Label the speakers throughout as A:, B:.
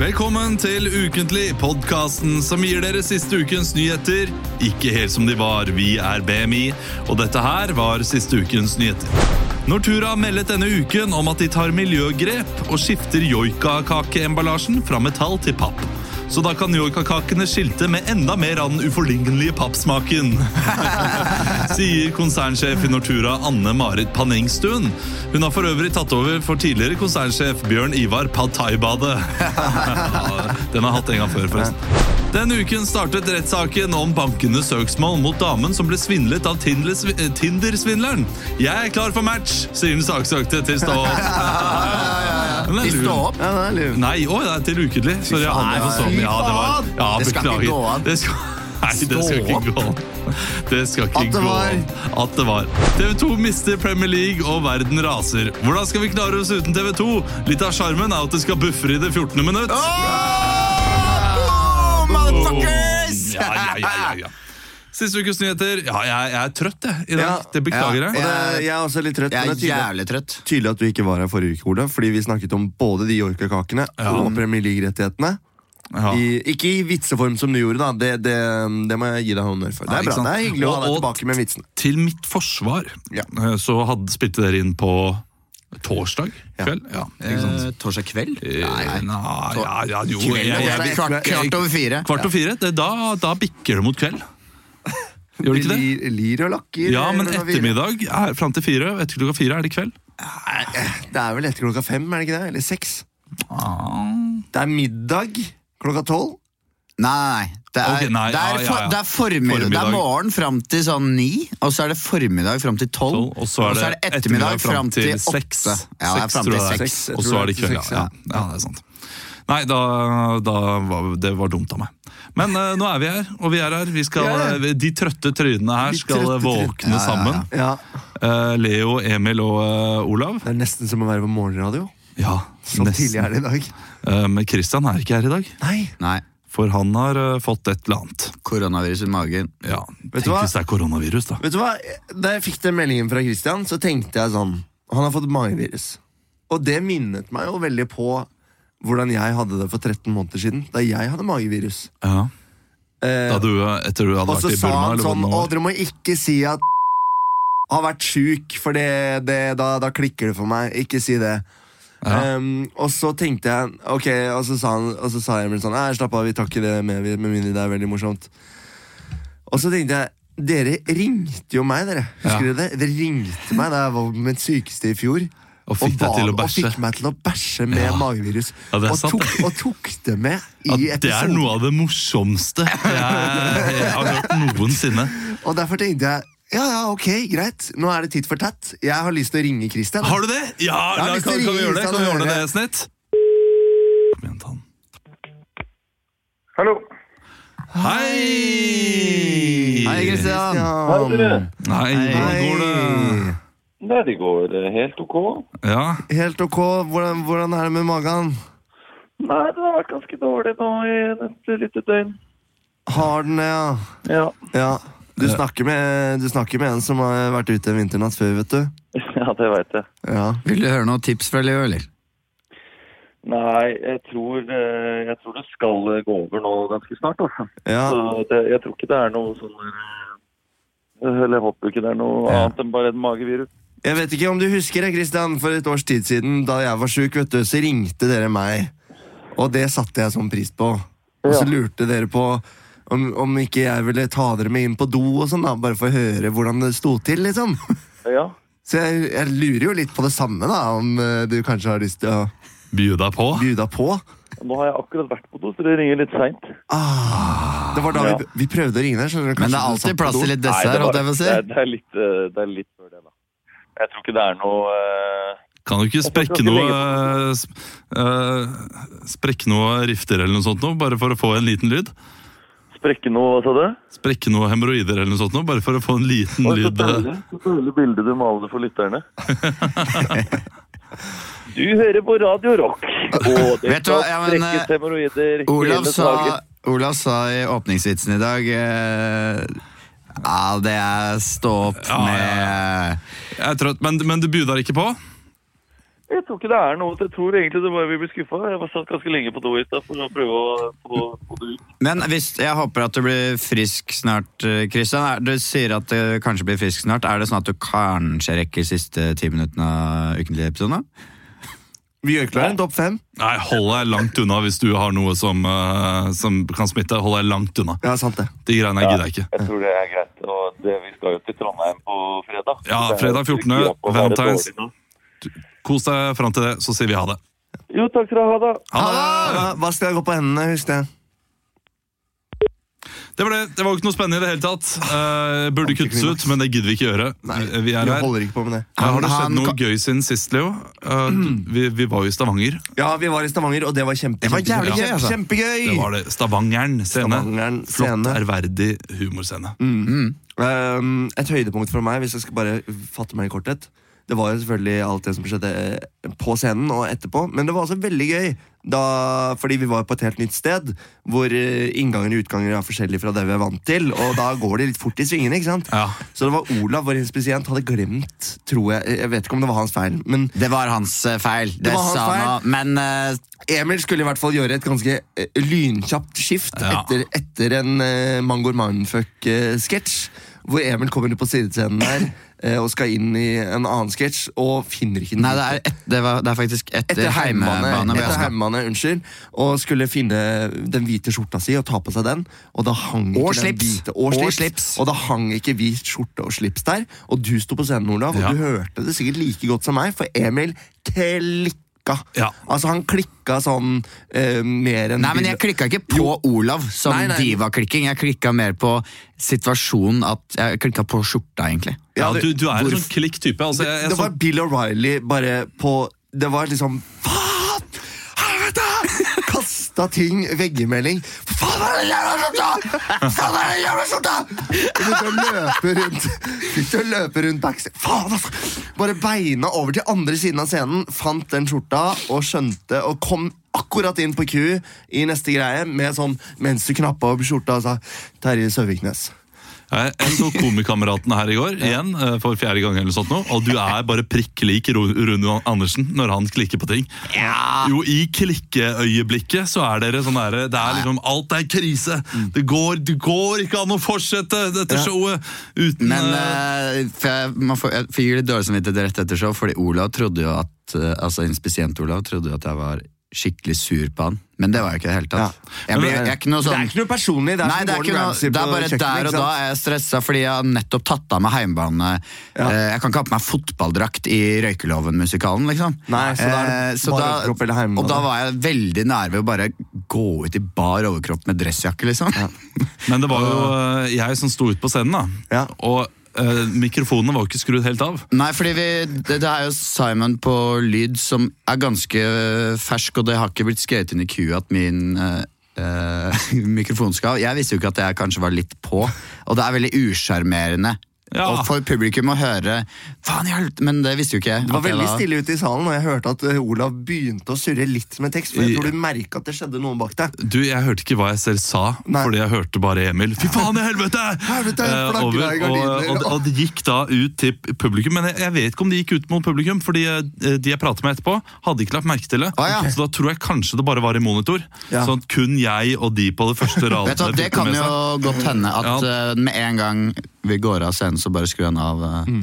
A: Velkommen til Ukentlig, podkasten som gir dere siste ukens nyheter. Ikke helt som de var, vi er BMI, og dette her var siste ukens nyheter. Nortura meldet denne uken om at de tar miljøgrep og skifter joikakakeemballasjen fra metall til papp. Så da kan joikakakene skilte med enda mer av den uforlignelige pappsmaken. sier konsernsjef i Nortura Anne Marit Panningstuen. Hun har for øvrig tatt over for tidligere konsernsjef Bjørn Ivar Pataibadet. Den har jeg hatt en gang før, forresten. Den uken startet rettssaken om bankenes søksmål mot damen som ble svindlet av Tindles- Tinder-svindleren. 'Jeg er klar for match', sier den saksøkte til Stå opp. Men det er
B: De
A: lurt.
B: står opp.
C: Ja, det er lurt.
A: Nei, å, det er til ukentlig. Sorry, jeg hadde
C: faen,
A: for sånn.
C: fy
A: Ja, det var
C: faen!
A: ja,
C: Det skal ikke
A: beklager.
C: gå an.
A: Det skal, nei, det skal
C: Stå
A: ikke gå an. Det skal ikke
C: At det
A: gå
C: var.
A: an. At det var. TV 2 mister Premier League, og verden raser. Hvordan skal vi klare oss uten TV 2? Litt av sjarmen er at det skal buffre i det 14. minutt.
C: Åh, Motherfuckers!
A: Ja, ja, ja, ja, ja. Siste ukes nyheter. Ja, jeg, jeg er trøtt, jeg, i dag. Det beklager jeg.
C: ja, og det- Jeg er også litt trøtt.
B: Jeg
C: men
B: er
C: det er tydelig,
B: jævlig trøtt.
C: tydelig at du ikke var her forrige uke, Ola. Fordi vi snakket om både de joikakakene og Premier League-rettighetene.
A: Ja.
C: I, ikke i vitseform som du gjorde, da. Det, det, det må jeg gi deg honnør for.
A: Ja,
C: Det er
A: ikke
C: bra,
A: sant?
C: det er hyggelig å ha
A: Og-
C: deg
A: og-
C: tilbake med vitsene.
A: Til mitt forsvar
C: Ja.
A: eh, så hadde, spilte dere inn på torsdag kveld. Ja, ikke sant? Eh,
B: Eh, torsdag kveld?
A: Nei, ja, ja, jo
B: Kveld,
A: jeg- jeg-
B: det er kvart, kvart over fire.
A: Kvart over fire, det, da, da bikker det mot kveld. Gjør det ikke det?
C: Lir, lir og lakker.
A: Ja, men
C: eller hva vi-
A: ettermiddag er fram til fire. Etter klokka fire er det kveld.
C: Det er vel etter klokka fem, er det ikke det? Eller seks?
A: Ah.
C: Det er middag klokka tolv.
B: Nei, det er,
A: Ok, nei,
B: det er,
A: ja, ja,
B: for,
A: ja.
B: Det er formiddag. Det
A: Formiddag.
B: er morgen fram til sånn ni, og så er det formiddag fram til tolv.
C: Oh.
A: Tolv, og så er det ettermiddag fram til seks.
B: åtte. Ja, det er
A: Seks,
B: fram
A: tror
B: til
A: jeg det er.
B: seks.
C: Jeg
A: Og
C: tror
A: så er det
C: det er
A: kveld,
C: seks,
A: ja.
C: ja.
A: ja. Ja, det er sant. Nei, da, da var det var dumt av meg. Men eh, nå er vi her, og vi er her. Vi skal,
C: Ja,
A: eh, De trøtte trynene her
C: De
A: skal
C: trøtte trynene.
A: våkne sammen.
C: Ja,
A: Eh, Leo, Emil og eh, Olav.
C: Det er nesten som å være på morgenradio.
A: Ja,
C: Så tidlig er det i dag.
A: Eh, Men Christian er ikke her i dag,
C: Nei,
B: Nei,
A: for han har eh, fått et eller annet.
B: koronavirus i magen.
A: Ja,
C: Vet
A: Tenk
C: du hva?
A: hvis det er koronavirus, da.
C: Vet du hva? Da jeg fikk den meldingen fra Christian, så tenkte jeg sånn Han har fått magevirus. Og det minnet meg jo veldig på hvordan jeg hadde det for 13 måneder siden, da jeg hadde magevirus.
A: Ja.
C: Eh,
A: Da du, eh, etter du hadde
C: og så
A: vært i
C: sa
A: Burma?
C: han
A: eller
C: sånn
A: hvordan det
C: Å,
A: var.
C: dere må ikke si at har vært sjuk, for det, det, da, da klikker det for meg. Ikke si det.
A: Ja.
C: Um, og så tenkte jeg Ok, og så sa, han, og så sa Emil sånn Nei, slapp av, vi tar ikke det med, vi- med mindre det er veldig morsomt. Og så tenkte jeg Dere ringte jo meg, dere. Husker
A: Ja.
C: dere det? Dere ringte meg da jeg var på mitt sykeste i fjor.
A: Og fikk deg
C: ba-
A: til å
C: og
A: bæsje.
C: fikk meg til å bæsje med
A: Ja.
C: magevirus.
A: Ja, det er
C: og,
A: sant,
C: tok,
A: det.
C: og tok det med i
A: At det er
C: episoden.
A: noe av det morsomste jeg, jeg har hørt noensinne.
C: Og derfor tenkte jeg ja, ja, ok, greit. Nå er det titt for tatt. Jeg har lyst til å ringe Christian.
A: Har du det? Ja,
C: Jeg har
A: la-
C: lyst
A: kan,
C: til å
A: kan vi
C: ringe
A: gjøre det?
C: Kristian
A: Kan vi
C: og
A: ordne det,
C: høre.
A: Snitt? Kom igjen, ta den.
D: Hallo.
A: Hei!
B: Hei, Christian!
D: Hei, dere.
A: Hei, hvordan går det?
C: Hei.
D: Nei, det går eh, helt ok.
A: Ja,
C: Helt ok. Hvordan, hvordan er det med magen?
D: Nei, det har vært ganske dårlig nå i et lite døgn.
C: Har den det, ja?
D: Ja.
C: Ja. Du snakker, med, du snakker med en som har vært ute en vinternatt før, vet du.
D: ja, det veit jeg.
C: Ja.
B: Vil du høre noen tips fra Leo, eller?
D: Nei, jeg tror, eh, jeg tror det skal eh, gå over nå ganske snart. Altså.
C: ja.
D: Så det, jeg tror ikke det er noe sånn eh, Eller jeg håper ikke det er noe
B: Ja.
D: annet enn bare et magevirus.
C: Jeg vet ikke om du husker det, Christian. For et års tid siden, da jeg var sjuk, vet du, så ringte dere meg. Og det satte jeg sånn pris på. Og så
D: Ja.
C: lurte dere på om, om ikke jeg ville ta dere med inn på do og sånn, da. Bare for å høre hvordan det sto til, liksom.
D: Ja.
C: Så jeg, jeg lurer jo litt på det samme, da. Om eh, du kanskje har lyst til å
A: bjuda på.
C: bjuda på.
D: Nå har jeg akkurat vært på do, så det ringer litt seint.
C: Ah, Det var da vi, vi prøvde å ringe deg, skjønner du.
B: Men
C: Kanskje du
B: det er
C: satt
B: alltid
C: på
B: plass
C: do.
B: til litt dessert, holdt jeg på å
D: det,
B: si.
D: er, det, er litt, eh, det er litt før det, da. Jeg tror ikke det er noe eh,
A: Kan du ikke sprekke
D: Jeg tror
A: noe
D: ikke
A: eh, sp- eh, Sprekke noe rifter eller noe sånt nå, bare for å få en liten lyd?
D: Sprekke noe, hva sa du?
A: Sprekke noe hemoroider eller noe sånt nå, bare for å få en liten
D: Oi, så
A: lyd? eh.
D: deilig. Så deilig bilde du maler for lytterne. Du hører på Radio Rock, og det
B: Vet du
D: skal
B: hva, ja, men, eh,
D: strekkes hemoroider
B: Olav
D: hele
B: sa,
D: dagen.
B: Olav sa i åpningsvitsen i dag eh, Ja, det er stå opp
A: Ja, ja,
B: med
A: Jeg er trøtt, men, men du bjuder ikke på?
D: Jeg tror ikke det er noe. Jeg tror egentlig det bare vi blir skuffa. Jeg var satt ganske lenge på do i stad for å prøve å få få det ut.
B: Men hvis, jeg håper at du blir frisk snart, eh, Christian. Er- Du sier at du kanskje blir frisk snart. Er det sånn at du kanskje rekker siste ti minuttene av ukentlig episode?
C: Vi gjør klar en topp fem.
A: Nei, hold deg langt unna hvis du har noe som, eh, som kan smitte. Hold deg langt unna.
C: Ja, sant det.
A: De greiene
D: Ja.
A: gidder jeg ikke.
D: Jeg tror det er greit. Og det, vi skal jo til Trondheim på fredag.
A: Ja,
D: Så det er
A: fredag 14.,
D: ikke opp å være
A: Valentine's.
D: dårlig nå.
A: Kos deg fram til det, så sier vi ha det.
D: Jo, takk skal du ha, da.
A: Ha det!
C: Hva skal jeg gå på hendene, husk det.
A: Det var det. Det var jo ikke noe spennende i det hele tatt. Eh, burde kuttes ut, men det gidder vi ikke gjøre. Eh, vi er her.
C: Jeg holder ikke på med det.
A: Ja, har det
B: Han-
A: skjedd noe
B: han-
A: gøy siden sist, Leo? Eh, du- vi, vi var jo i Stavanger.
C: Ja, vi var i Stavanger, og det var kjempe,
B: Det var jævlig gøy, altså.
C: kjempegøy.
A: Det var det. Stavangeren scene.
C: Stavangeren
A: Flott,
C: scene.
A: ærverdig humorscene.
C: Um, et høydepunkt for meg, hvis jeg skal bare fatte meg i korthet, det var jo selvfølgelig alt det som skjedde eh, på scenen og etterpå, men det var også veldig gøy, da, fordi vi var på et helt nytt sted, hvor eh, innganger og utganger er forskjellige fra det vi er vant til, og da går det litt fort i svingene, ikke sant?
A: Ja.
C: Så det var Olav, vår inspisient, hadde glemt, tror jeg, jeg vet ikke om det var hans feil, men
B: Det var hans eh, feil. Det,
C: var hans
B: sa han
C: feil.
B: også. Men eh,
C: Emil skulle i hvert fall gjøre et ganske eh, lynkjapt skift
A: Ja.
C: etter, etter en eh, Mangor Mindfuck-sketsj. Hvor Emil kommer ut på sidescenen der eh, og skal inn i en annen sketsj og finner ikke den.
B: nei, det er, et, det, var, det er faktisk etter,
C: etter
B: heimebane.
C: heimebane,
B: vi
C: etter
B: skal.
C: heimebane, unnskyld, og skulle finne den hvite skjorta si og ta på seg den. Og da hang ikke
B: Og
C: den
B: slips.
C: hvite og
B: Og
C: slips,
B: slips.
C: Og da hang ikke hvit skjorte og slips der. Og du sto på scenen, Olav,
A: Ja.
C: og du hørte det sikkert like godt som meg, for Emil klikka.
A: Ja.
C: Altså, han klikka sånn eh, mer enn
B: Nei, men jeg klikka ikke på Olav som
C: Nei, nei.
B: divaklikking. Jeg klikka mer på situasjonen at Jeg klikka på skjorta, egentlig.
A: Ja,
C: Ja,
A: du, du er en
B: hvorf-
A: sånn klikk type. Altså, jeg, jeg
C: Det
A: så,
C: var Bill O'Reilly bare på Det var liksom Faen! Helvete! Kasta ting veggemelding. Faen, er det jævla skjorta! Faen, er det jævla skjorta! Og Begynte å løpe rundt Begynte å løpe rundt backstage. Faen, altså! Bare beina over til andre siden av scenen, fant den skjorta og skjønte og kom akkurat inn på Q i neste greie med sånn mens du knappa opp skjorta og sa Terje Søviknes.
A: jeg, jeg så Komikameratene her i går, igjen, eh, for fjerde gang eller sånt nå, og du er bare prikk lik Ro- Rune Andersen når han klikker på ting. Jo, i klikkeøyeblikket så er dere sånn derre Det er liksom Alt er krise! Det går, det går ikke an å fortsette dette showet uten
B: Men
A: eh,
B: eh, for jeg, man får, jeg fikk jo litt dårlig samvittighet rett etter show, fordi Olav trodde jo at eh, Altså inspisient Olav trodde jo at jeg var skikkelig sur på han. Men det var jeg ikke i det hele tatt. Jeg, blir, jeg er ikke noe
C: Det er
B: sånn
C: ikke noe personlig. Det er,
B: Nei,
C: som
B: det er,
C: Gordon
B: ikke noe,
C: Ramsay
B: det er
C: på
B: bare
C: kjøkkenet,
B: der og
C: ikke
B: da
C: sant?
B: er jeg stressa fordi jeg har nettopp tatt av meg heimebane. Eh, Jeg kan ikke ha på meg fotballdrakt i Røykeloven-musikalen, liksom.
C: Nei, så da er det
B: Eh, så
C: bare
B: da-
C: overkropp eller heimebane.
B: Og da var jeg veldig nær ved å bare gå ut i bar overkropp med dressjakke, liksom.
A: Men det var jo eh, jeg som sto ut på scenen, da.
C: Ja.
A: Og eh, mikrofonene var jo ikke skrudd helt av.
B: Nei, fordi vi, det, det er jo Simon på lyd som er ganske øh, fersk, og det har ikke blitt skrevet inn i Q at min øh, øh, mikrofon skal av. Jeg visste jo ikke at jeg kanskje var litt på, og det er veldig usjarmerende.
A: Ja.
B: Og for publikum å høre Faen, jeg har- Men det visste jo ikke jeg.
C: Det var
B: at jeg
C: veldig stille ute i salen, og jeg hørte at eh, Olav begynte å surre litt med tekst. For jeg tror du merket at det skjedde noe bak deg.
A: Du, Jeg hørte ikke hva jeg selv sa,
C: Nei.
A: fordi jeg hørte bare Emil. Fy faen i helvete!
C: Helvete,
A: Eh,
C: flagger
A: over,
C: deg
A: og,
C: i gardiner,
A: og,
C: ja.
A: og det gikk da ut til publikum, men jeg, jeg vet ikke om det gikk ut mot publikum, fordi eh, de jeg prater med etterpå, hadde ikke lagt merke til det.
B: Ah, ja.
A: Så da tror jeg kanskje det bare var i monitor,
C: Ja.
A: sånn at kun jeg og de på det første radet
B: Vet du, hva, Det
A: fikk
B: kan
A: med
B: jo
A: seg.
B: godt hende at
A: Ja.
B: øh, med en gang vi går av scenen, så bare skrur han av øh,
C: Mm,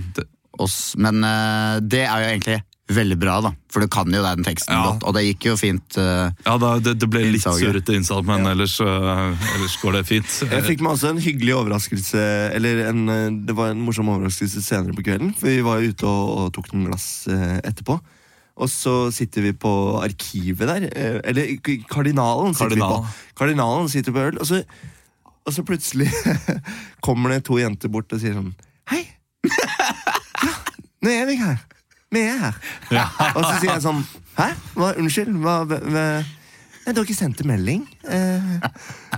B: oss. Men øh, det er jo egentlig veldig bra, da. For du kan jo den teksten
A: Ja.
B: godt, og det gikk jo fint. øh,
A: Ja, da, det, det ble litt
B: Innsalget.
A: surrete innsalg, men ellers, eh, ellers går det fint.
C: Jeg fikk meg også en hyggelig overraskelse Eller en, eh, det var en morsom overraskelse senere på kvelden. For vi var jo ute og, og tok noen glass eh, etterpå. Og så sitter vi på arkivet der. eh, Eller k- Kardinalen sitter
A: Kardinalen.
C: vi på. Kardinalen sitter på øl, og så, og så plutselig kommer det to jenter bort og sier sånn Hei! Ja, nå er vi her. Vi er her. Og så sier jeg sånn Hæ? Hva, unnskyld? Hva, hva, hva? Nei, dere sendte melding. Eh,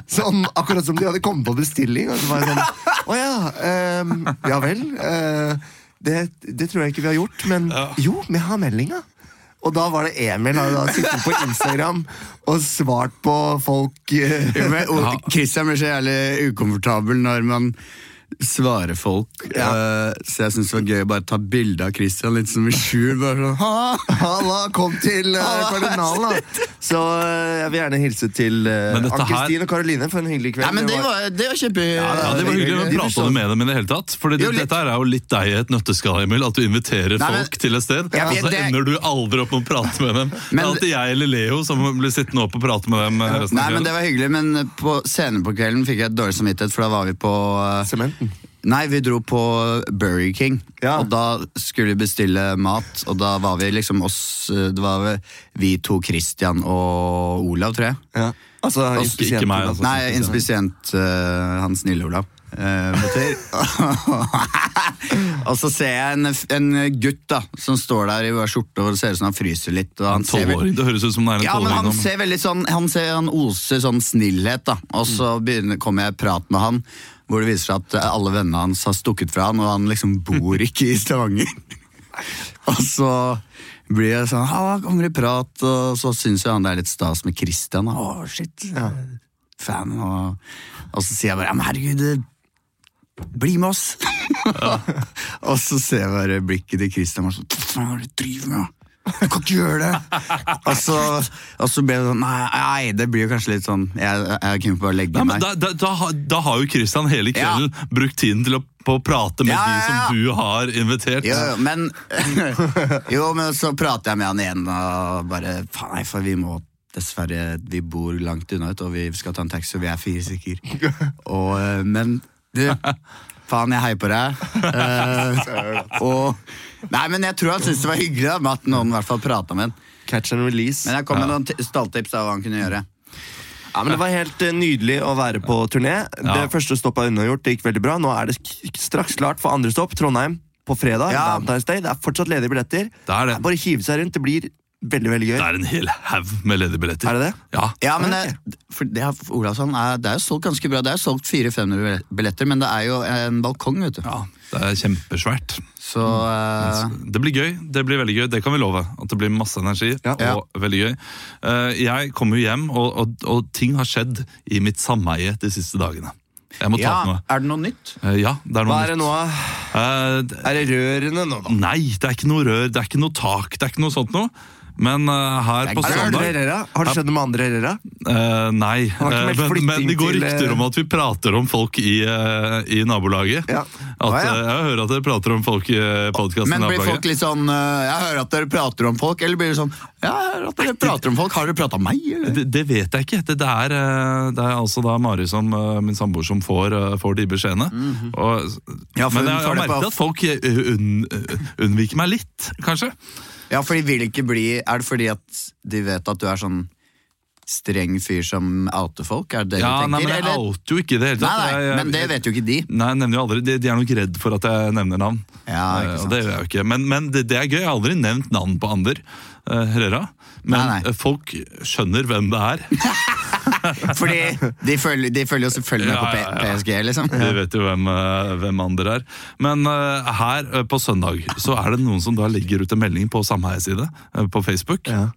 C: sånn, akkurat som de hadde kommet på bestilling. Og så var jeg sånn Å ja. ehm, ja vel. Eh, det, det tror jeg ikke vi har gjort, men jo, vi har meldinga. Og da var det Emil han hadde da sittet på Instagram og svart på folk eh,
B: Jo, men, og, Christian blir så jævlig ukomfortabel når man svare folk. Eh, så jeg syns det var gøy å bare ta bilde av Christian litt som i skjul. Bare sånn, ha!
C: Halla, kom til eh, kardinalen, da! Så eh, jeg vil gjerne hilse til eh,
A: Men dette her-
C: Ann-Kristin og Karoline for en hyggelig kveld.
B: Nei, men det var, det var kjempe...
A: Ja, Det var hyggelig å
C: De
A: prate om det med dem i det hele tatt. Fordi det,
B: Jo, litt.
A: dette her er jo litt deg i et nøtteskall, Emil. At du inviterer
B: Nei, men-
A: folk til et sted,
B: Jeg vet
A: og så
B: det-
A: ender du aldri opp med å prate med dem. det
B: Men-
A: er alltid jeg eller Leo som blir sittende opp og prate med dem. eh, resten
B: Nei,
A: av
B: men
A: kvelden.
B: det var hyggelig, men på, senere på kvelden fikk jeg et dårlig samvittighet, for da var vi på eh,
C: Sementen.
B: Nei, vi dro på Burger King,
C: Ja.
B: og da skulle vi bestille mat, og da var vi liksom oss eh, Det var vi- vi to, Christian og Olav, tror jeg.
C: Ja. Altså,
A: Ikke-
C: inspisient,
A: ikke meg, altså.
B: Nei, inspisient eh, han snille Olav. eh, betyr. og så ser jeg en, en gutt da som står der i hver skjorte og ser ut som han fryser litt. Og han ser vel-
A: Tolvåring, Det høres ut som det er en
B: ja, men
A: tolvåring.
B: han
A: nå, men-
B: ser veldig sånn Han, ser, han oser sånn snillhet, da. Og så begynner, kommer jeg i prat med han, hvor det viser seg at eh, alle vennene hans har stukket fra han, og han liksom bor ikke i Stavanger. og så blir jeg sånn Ja, kommer i prat, og så syns jo han det er litt stas med Christian. da. Å, shit. Fan. Og, og så sier jeg bare Ja, men herregud, det- bli med oss! og så ser jeg bare blikket til Christian og sånn Hva faen er det du driver med? da? Du kan ikke gjøre det! og, så, og så ble det sånn Nei, nei, det blir jo kanskje litt sånn Jeg, jeg kunne bare legge
A: Nei, men
B: meg.
A: da, da, da, har- da har jo Christian hele kvelden brukt tiden til å, på å prate med
B: Ja,
A: de
B: ja, ja.
A: som du har invitert.
B: Jo, jo, men, jo, men så prater jeg med han igjen og bare Faen, nei, for vi må dessverre Vi bor langt unna, ut, og vi skal ta en taxi, og vi er fire stykker. Og, eh, men du, faen, jeg heier på deg. Eh, og Nei, men jeg tror han syntes det var hyggelig da, med at noen i hvert fall prata med han.
C: Catch and release.
B: Men jeg kom med noen ti- stalltips av hva han kunne gjøre.
C: Ja, men Det var helt eh, nydelig å være på turné.
A: Ja.
C: Det første stoppet er unnagjort. Det gikk veldig bra. Nå er det sk- straks klart for andre stopp. Trondheim på fredag.
B: Ja.
C: Valentine's Day. Det er fortsatt ledige billetter.
A: Det er det.
C: Bare hive seg rundt. Det blir veldig veldig gøy.
A: Det er en hel haug med ledige billetter.
C: Er det det?
A: Ja.
B: Ja, men det, for det, har- Olav sa han er, det er jo solgt ganske bra. Det er jo solgt 400-500 billetter, men det er jo en balkong, vet du.
A: ja, det er kjempesvært.
B: Så eh,
A: Det blir gøy. Det blir veldig gøy, det kan vi love. At det blir masse energi.
C: Ja.
A: og veldig gøy. Eh, Jeg kommer jo hjem, og, og, og ting har skjedd i mitt sameie de siste dagene. Jeg må ta
B: ja,
A: opp noe.
B: er det noe nytt?
A: Eh, Ja, det er noe
C: Hva er det nå?
A: nytt. Eh,
C: Er det rørene nå, da?
A: Nei, det er ikke noe rør, det er ikke noe tak, det er ikke noe sånt noe. Men eh, her
B: Det er
A: på
C: Er
B: ikke
C: det andre
A: søndag
C: Herrera? Har det skjedd noe med andre Herrera?
A: Eh, nei, Eh,
C: Han har ikke meldt
A: men, men
C: flytting
A: det går
C: til, eh,
A: rykter om at vi prater om folk i, eh, i nabolaget.
C: Ja.
A: At,
C: Å, ja.
A: eh, jeg hører at dere prater om folk i podkasten.
B: Men blir folk litt sånn eh, Jeg hører at dere prater om folk, eller blir det sånn Ja, jeg hører at dere prater om folk. Har dere prata om meg, eller?
A: det, det vet jeg ikke. Det, det, er, eh, det er altså da Mari, som, eh, min samboer, som får, eh, får de beskjedene. Og-
B: Mhm. Ja, for
A: men
B: hun
A: jeg
B: får
A: har
B: det på-
A: merket at folk eh, unn, unnviker meg litt, kanskje.
B: Ja, for de vil ikke bli Er det fordi at de vet at du er sånn streng fyr som outer folk? Er det det
A: Ja,
B: du
A: nei,
B: tenker?
A: men Jeg
B: eller?
A: outer jo ikke i det hele
B: Nei,
A: tatt.
B: nei,
A: Jeg-
B: men det vet jo ikke de.
A: Nei, jeg nevner jo aldri. De, de er nok redd for at jeg nevner navn.
B: Ja, ikke
A: Eh,
B: sant.
A: og det gjør jeg jo ikke. Men, men det, det er gøy. Jeg har aldri nevnt navn på Ander eh, Herrera. Men
B: Nei, nei.
A: eh, folk skjønner hvem det er.
B: Fordi de følger, de følger jo selvfølgelig med
A: Ja,
B: på
A: ja,
B: P
A: ja.
B: PSG, liksom.
A: De vet jo hvem, eh, hvem Ander er. Men eh, her eh, på søndag så er det noen som da legger ut en melding på sameiets side eh, på Facebook.
C: Ja.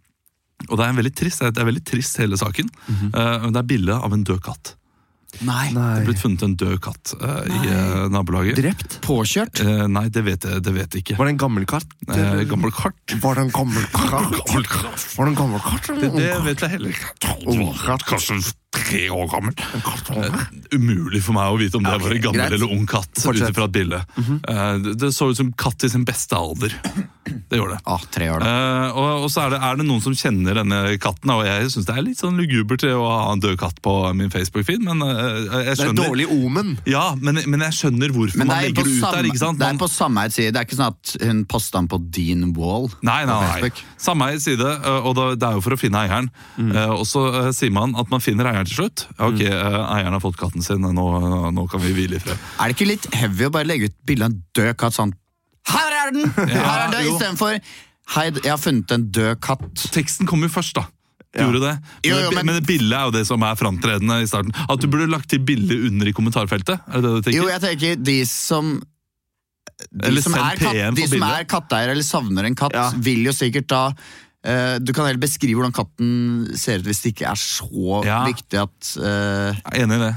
A: Og det er, en veldig trist, det er veldig trist hele saken. Eh, men det er bilde av en død katt.
B: Nei.
A: Det er blitt funnet en død katt eh, i eh, nabolaget.
C: Drept?
B: Påkjørt?
A: Eh, nei, det vet jeg, det vet jeg ikke.
C: Var det en gammel katt?
A: Eh, gammel kart.
C: Var det en gammel katt?
A: Gammel katt.
C: Var det en gammel katt? eller
A: Det,
C: en
A: det
C: ung
A: vet jeg heller ikke.
C: katt?
A: Kanskje tre år gammel.
C: Katt, katt.
A: Umulig for meg å vite om det var en gammel
B: greit.
A: eller ung katt. Ut
C: Fortsett.
A: ifra et bilde. Eh, det- Det så ut som katt i sin beste alder. Det gjorde det.
B: Å, tre år, da.
A: Eh, og, og så er det, er det noen som kjenner denne katten, og jeg syns det er litt sånn lugubert å ha en død katt på min Facebook-feed, men eh, jeg
C: Det er et
A: skjønner
C: dårlig omen.
A: ja, men, men jeg skjønner hvorfor
B: Men det
A: man
B: er,
A: legger
B: på
A: det ut
B: samme,
A: der. ikke sant?
B: det er
A: Man-
B: på samme side. Det er ikke sånn at hun posta den på din wall.
A: Nei,
B: på
A: nei, nei.
B: Facebook. Mm.
A: Samme side, ø, og da- det er jo for å finne eieren. Eh, Og så eh, sier man at man finner eieren til slutt. Ja, ok, eh, eieren har fått katten sin, eh, nå, nå kan vi hvile i fred.
B: Er det ikke litt heavy å bare legge ut bilde av en død katt sånn Her er den! Her er den!
A: jo.
B: Istedenfor Hei, jeg har funnet en død katt.
A: Teksten kom jo først, da. Gjorde det. Men,
B: Jo, jo,
A: det-
B: men-
A: men det bildet er jo det som er framtredende i starten. At du burde lagt til bildet under i kommentarfeltet. Er det det du tenker?
B: Jo, jeg tenker de som de
A: Eller
B: som,
A: send
B: er, katt,
A: PM
B: de
A: for
B: som
A: bildet.
B: er katteeier eller savner en katt,
C: Ja.
B: vil jo sikkert da eh, Du kan heller beskrive hvordan katten ser ut hvis det ikke er så
A: Ja.
B: viktig at eh,
A: Jeg er enig i det.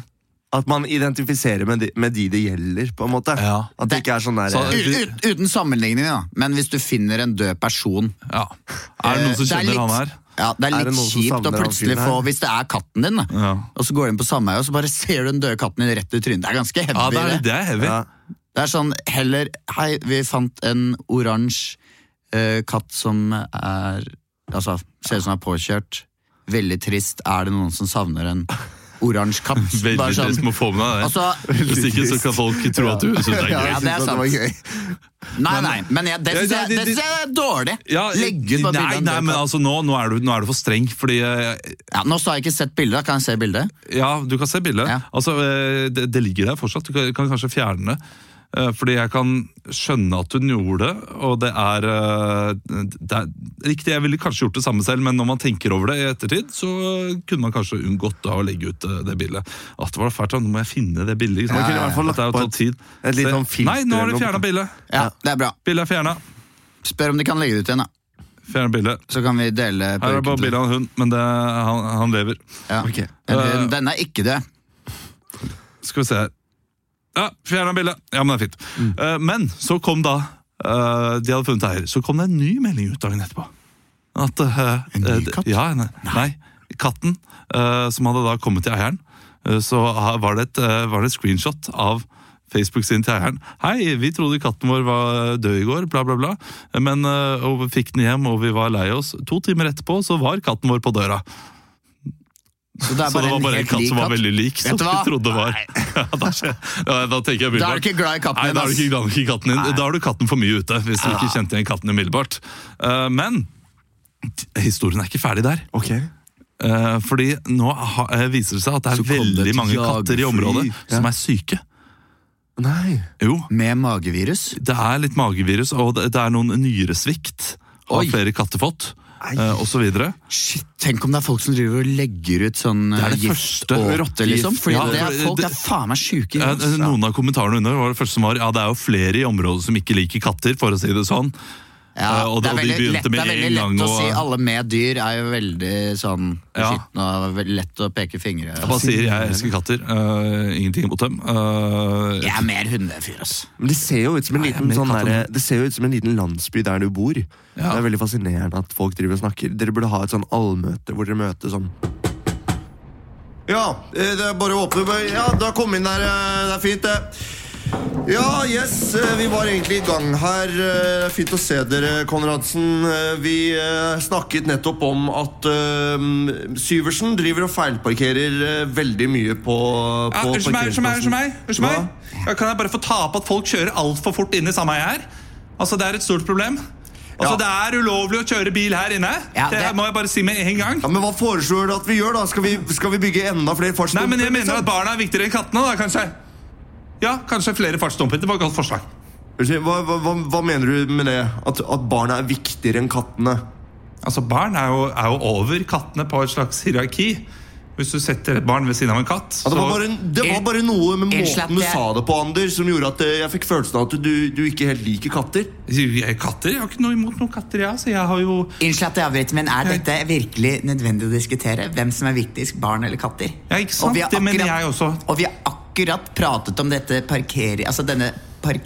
C: At man identifiserer med de, med de det gjelder, på en måte.
A: Ja.
C: At det ikke er sånn der
A: Så-
C: eh,
B: U ut, uten sammenligning, da. Men hvis du finner en død person
A: Ja. Er det noen som
B: Eh,
A: kjenner
B: litt-
A: han her?
B: Ja, det er
C: Er
B: litt
C: det noen som
B: kjipt å
C: savner han
B: plutselig
C: fyren her?
B: få Hvis det er katten din, da.
A: Ja.
B: Og så går du inn på sameie, og så bare ser du den døde katten din rett i trynet. Det er ganske heavy.
A: Ja, det er, det er heavy.
C: ja.
B: Det er sånn heller Hei, vi fant en oransje eh, katt som er Altså, ser ut som den er påkjørt. Veldig trist. Er det noen som savner en oransje katt? Bare
A: Veldig
B: sånn,
A: trist. Må få med deg det.
B: Altså,
A: Hvis ikke så kan folk tro at du syns det er
B: Ja,
A: gøy.
B: det er sant. Nei, nei, men jeg, det syns
A: Ja,
B: jeg,
A: det-
B: det synes jeg er dårlig.
A: Ja,
B: Legge ut bare
A: nei,
B: bildet av en
A: nei,
B: død
A: men
B: katt.
A: altså nå, nå, er du, nå er du for streng, fordi eh,
B: Ja, nå så har jeg ikke sett bildet. Kan jeg se bildet?
A: Ja, du kan se bildet.
B: Ja.
A: Altså, eh, det, det ligger der fortsatt. Du kan, kan kanskje fjerne det. Eh, Fordi jeg kan skjønne at hun gjorde det, og det er, eh, det er Riktig, jeg ville kanskje gjort det samme selv, men når man tenker over det i ettertid, så kunne man kanskje unngått da å legge ut eh, det bildet. At det var fælt, da. Nå må jeg finne det bildet. ikke sant?
C: Man kunne i hvert fall
A: Dette er jo
C: lagt på
A: tatt tid.
C: et litt
A: Se-
C: sånn filter
A: Nei, nå har
C: eller
A: de
C: noe.
A: fjerna bildet!
B: Ja, det er bra.
A: Bildet er fjerna.
B: Spør om de kan legge det ut igjen, da.
A: Fjerna bildet.
B: Så kan vi dele på
A: Her er det bare
B: ukentlig.
A: bilde av en hund, men det, han, han lever.
B: Ja.
C: Ok.
B: Men
A: Eh,
B: den- Den er ikke død.
A: Skal vi se her. Ja, fjerna bildet. Ja, men det er fint. Eh, men så kom da eh, De hadde funnet eier. Så kom det en ny melding ut dagen etterpå. At, eh,
B: En ny
A: eh, d-
B: katt?
A: Ja, nei, nei. Katten eh, som hadde da kommet til eieren, eh, så ha- var det, et, eh, var det et screenshot av Facebook sin til eieren. Hei, vi trodde katten vår var død i går, bla, bla, bla. Men eh, og vi fikk den hjem, og vi var lei oss. To timer etterpå så var katten vår på døra.
B: Så det er
A: Så det
B: bare
A: var
B: en
A: bare en
B: helt
A: katt
B: lik
A: som var
B: katt.
A: veldig lik, som
B: Vet du
A: vi
B: hva?
A: trodde det var. Ja, da, skjer- ja, da tenker jeg
B: Da er
A: umiddelbart
B: du ikke glad i
A: Nei,
B: katten din.
A: da er du
B: ass.
A: ikke glad nok i katten din. Da har du katten for mye ute, hvis du ikke kjente igjen katten umiddelbart. Eh, Men t- historien er ikke ferdig der.
C: Ok.
A: Eh, Fordi nå ha- eh, viser det seg at det er
B: Så kom det
A: veldig
B: et
A: mange katter i området
B: jagerfly.
A: som er syke.
C: Nei.
A: Jo,
B: Med magevirus?
A: det er litt magevirus, og det det er noen nyresvikt. Har
B: Oi.
A: flere katter fått?
C: Ei.
A: eh, Og så videre.
B: Shit, Tenk om det er folk som driver og legger ut sånn
A: er
B: eh,
A: det
B: gift
A: første.
B: og
A: Rottegift.
B: rotte, liksom. Fordi
A: Ja, for
B: det er folk
A: det-
B: det er faen meg sjuke.
A: Ja,
B: ikke sant?
A: Eh, Noen av kommentarene under var det første som var Ja, det er jo flere i området som ikke liker katter, for å si det sånn.
B: Ja,
A: Eh, og
B: det
A: da-
B: er
A: og de
B: veldig
A: begynte
B: lett, det
A: med
B: er veldig
A: en
B: lett
A: gang
B: å
A: å-
B: si alle med dyr er jo veldig sånn
A: Ja.
B: skitne og veldig lett å peke fingre.
A: Jeg bare sier jeg elsker katter. eh, ingenting mot dem. Eh,
B: Jeg er mer hundefyr, ass.
C: Men det ser jo ut som en liten,
A: mer
C: sånn
A: katt enn
C: derre- det ser jo ut som en liten landsby der du bor. Det er veldig fascinerende at folk driver og snakker. Dere burde ha et sånn allmøte hvor dere møter sånn Ja, eh, det er bare å åpne men- Ja, da kom inn der. eh, Det er fint, det. Ja, yes, eh, vi var egentlig i gang her. Eh, Det er fint å se dere, Konradsen. Eh, Vi eh, snakket nettopp om at eh, Syversen driver og feilparkerer eh, veldig mye på,
E: Ja,
C: på
E: Unnskyld meg, unnskyld meg, unnskyld meg. Unnskyld meg.
C: Hva?
E: Ja, Kan jeg bare få ta opp at folk kjører altfor fort inne i sameie her? Altså, Det er et stort problem. Altså, Det er ulovlig å kjøre bil her inne.
B: Ja,
E: det...
B: det-
E: må jeg bare si med en gang.
C: Ja, men Hva foreslår du at vi gjør? da? Skal vi, skal vi bygge enda flere fartsdumper?
E: Nei, men jeg mener
C: liksom?
E: at barna er viktigere enn kattene, da, kanskje. Ja, kanskje flere fartsdumper. Det var et godt forslag.
C: Unnskyld, hva, hva, hva, hva mener du med det? At, at barna er viktigere enn kattene?
E: Altså, Barn er jo, er jo over kattene på et slags hierarki. Hvis du setter et barn ved siden av en katt,
C: Ja, det, var
E: så-
C: bare, det var bare noe med
B: En
C: måten
B: slapp,
C: du
B: jeg-
C: sa det på, Anders, som gjorde at eh, jeg fikk følelsen av at du, du ikke helt liker katter.
E: Jeg- Katter? Jeg har ikke noe imot noen katter, jeg. Altså, jeg har jo...
B: Unnskyld at jeg avbryter, men er dette virkelig nødvendig å diskutere? Hvem som er viktigst, barn eller katter?
E: Ja, ikke sant?
B: Og vi har
E: Det mener
B: akkurat-
E: jeg også.
B: Og vi har akkurat pratet om dette parkeri, altså denne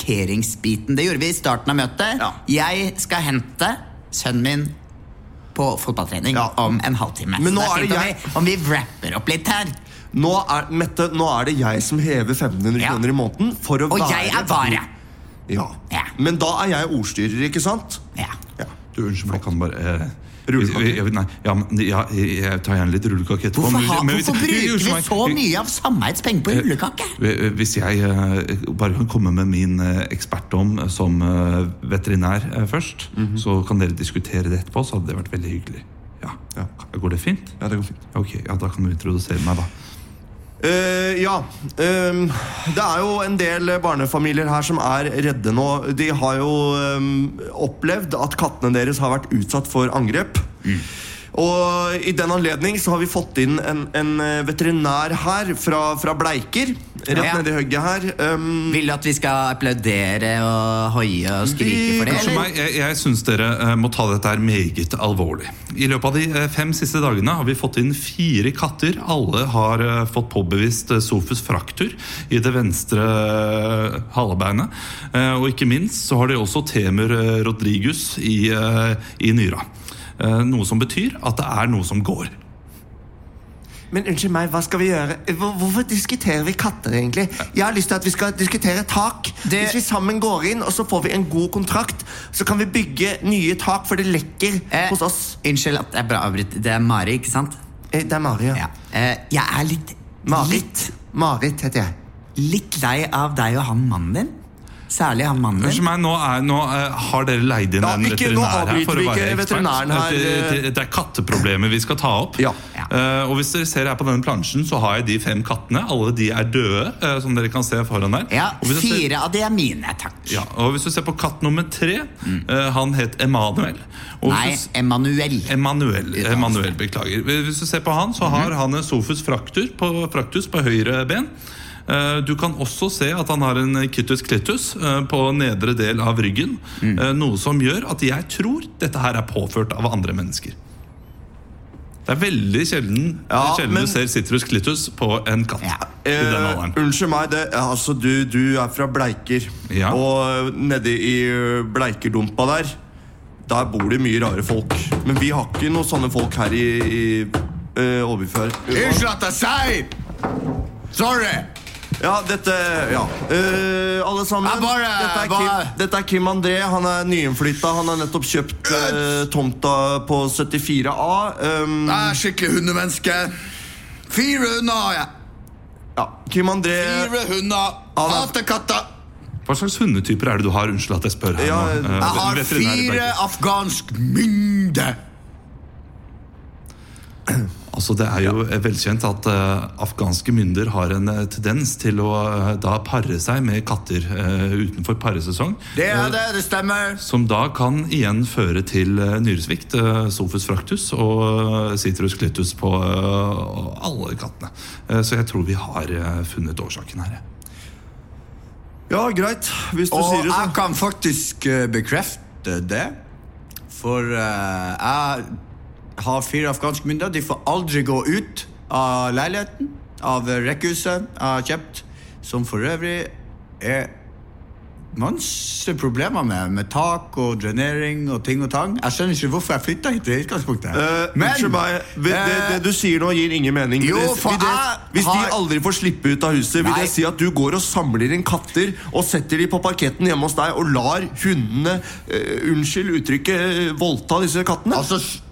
B: parkeringsbiten. Det gjorde vi i starten av møtet. Jeg skal hente sønnen min på fotballtrening
C: Ja.
B: om en halvtime.
C: Men
B: Så
C: nå
B: da
C: er det
B: tenkte
C: jeg-
B: vi Om vi wrapper opp litt her.
C: Nå er, Mette, nå er det jeg som hever 1500
B: Ja.
C: kroner i måneden for å
B: Og
C: være
B: jeg er vare.
C: Ja.
B: Ja.
C: Men da er jeg ordstyrer, ikke sant?
B: Ja.
C: Ja.
A: Du, unnskyld meg, jeg kan bare eh,
C: Rullekake.
A: vi- vi- Nei, ja, men, ja, jeg, jeg tar gjerne litt rullekake etterpå.
B: Hvorfor,
A: men-
B: ha,
A: men hvis-
B: hvorfor
A: Unnskyld
B: bruker vi
A: meg.
B: så mye av sameiets penger på rullekake?
A: Eh, Hvis jeg eh, bare kan komme med min eh, ekspertdom eh, som eh, veterinær eh, først,
E: Mhm.
A: så kan dere diskutere det etterpå, så hadde det vært veldig hyggelig. Ja. Går det fint?
C: ja, det går fint.
A: Ok, ja, da kan du introdusere meg, da.
C: Eh, ja. ehm, det er jo en del barnefamilier her som er redde nå. De har jo ehm, opplevd at kattene deres har vært utsatt for angrep. Og i den anledning så har vi fått inn en, en eh, veterinær her fra, fra Bleiker. Rett
E: Ja.
C: nedi hugget her. Um,
E: Vil du at vi skal applaudere og hoie og skrike for det?
A: Unnskyld
E: eller?
A: meg, jeg, jeg syns dere eh, må ta dette her meget alvorlig. I løpet av de eh, fem siste dagene har vi fått inn fire katter. Alle har eh, fått påbevist eh, sofus fraktur i det venstre eh, halebeinet. Eh, og ikke minst så har de også Temer eh, Rodrigus i, eh, i nyra. Eh, noe som betyr at det er noe som går.
C: Men unnskyld meg, hva skal vi gjøre? Hvor- Hvorfor diskuterer vi katter, egentlig? Jeg har lyst til at vi skal diskutere tak.
E: Det-
C: Hvis vi sammen går inn, og så får vi en god kontrakt, så kan vi bygge nye tak, for det lekker
E: Eh,
C: hos oss.
E: Unnskyld at jeg bare avbryter. Det er Mari, ikke sant?
C: Eh, Det er Maria.
E: Ja. Eh, jeg er litt
C: Marit.
E: litt,
C: Marit heter jeg.
E: litt lei av deg og han mannen din. Særlig han mannen
A: Unnskyld
E: din.
A: meg, nå, er, nå eh, har dere leid inn
C: Ja,
A: en
C: ikke- nå
A: veterinær her
C: avbryter
A: for å
C: vi
A: være
C: ikke
A: ekspert.
C: veterinæren her,
A: Det, det, det er katteproblemer vi skal ta opp.
C: Ja.
E: Ja.
A: Eh, og hvis dere ser her på denne plansjen, så har jeg de fem kattene. Alle de er døde, eh, som dere kan se foran der.
E: Ja,
A: og hvis du ser,
E: Fire av de er mine, takk.
A: ja, og hvis du ser på katt nummer tre,
C: Mm.
A: eh, han het Emanuel. Og
E: Nei,
A: hvis du s-
E: Emanuel.
A: Emanuel,
E: annet
A: Emanuel, beklager. Hvis du ser på han,
C: Mhm.
A: så har han en sofus fraktur på, fraktus på høyre ben. Eh, Du kan også se at han har en kittus clitus eh, på nedre del av ryggen.
C: Mm.
A: eh, Noe som gjør at jeg tror dette her er påført av andre mennesker. Det er veldig sjelden,
C: Ja,
A: sjelden
C: men-
A: du ser citrus clitus på en katt.
E: Ja.
A: I den
C: Eh,
A: alderen.
C: unnskyld meg, det, altså du, du er fra Bleiker.
A: Ja.
C: Og nedi i eh, Bleikerdumpa der, der bor det mye rare folk. Men vi har ikke noen sånne folk her i, i eh, Åbyfjord.
E: at jeg sier! Sorry!
C: Ja, dette Ja. Eh, alle sammen.
E: Jeg bare-
C: dette, er
E: bare-
C: Kim, dette er Kim André. Han er nyinnflytta. Han har nettopp kjøpt eh, tomta på 74A. Um,
E: er skikkelig hundemenneske. Fire hunder har jeg.
C: ja. Kim André
E: hunder.
C: Han er- Hater
E: katter.
A: Hva slags hundetyper er det du har? Unnskyld at jeg spør. her
C: Ja,
A: nå. Eh,
C: jeg
A: veterinær i Bergen.
E: afghansk mynde.
A: Altså, det er jo eh, velkjent at eh, afghanske mynder har en eh, tendens til å eh, da pare seg med katter eh, utenfor paresesong.
E: Det er det, det stemmer.
A: Som da kan igjen føre til eh, nyresvikt, eh, sofus fraktus og eh, citrus clitus på eh, alle kattene. Eh, Så jeg tror vi har eh, funnet årsaken her.
C: Ja, greit. Hvis du
E: Og
C: sier det,
E: jeg
A: sånn?
C: så.
E: kan faktisk eh, bekrefte det. For eh, jeg har fire afghanske myndigheter. De får aldri gå ut av leiligheten, av rekkehuset jeg har kjøpt, som for øvrig er masse problemer med, med tak og drenering og ting og tang. Jeg skjønner ikke hvorfor jeg flytta hit i utgangspunktet.
C: Eh, unnskyld meg, det, det, det du sier nå gir ingen mening.
E: jo,
C: Hvis-
E: for
C: vil det,
E: jeg
C: hvis
E: har-
C: de aldri får slippe ut av huset, vil
E: Nei.
C: det si at du går og samler inn katter og setter de på parketten hjemme hos deg og lar hundene, eh, unnskyld uttrykket, eh, voldta disse kattene?
E: Altså, s-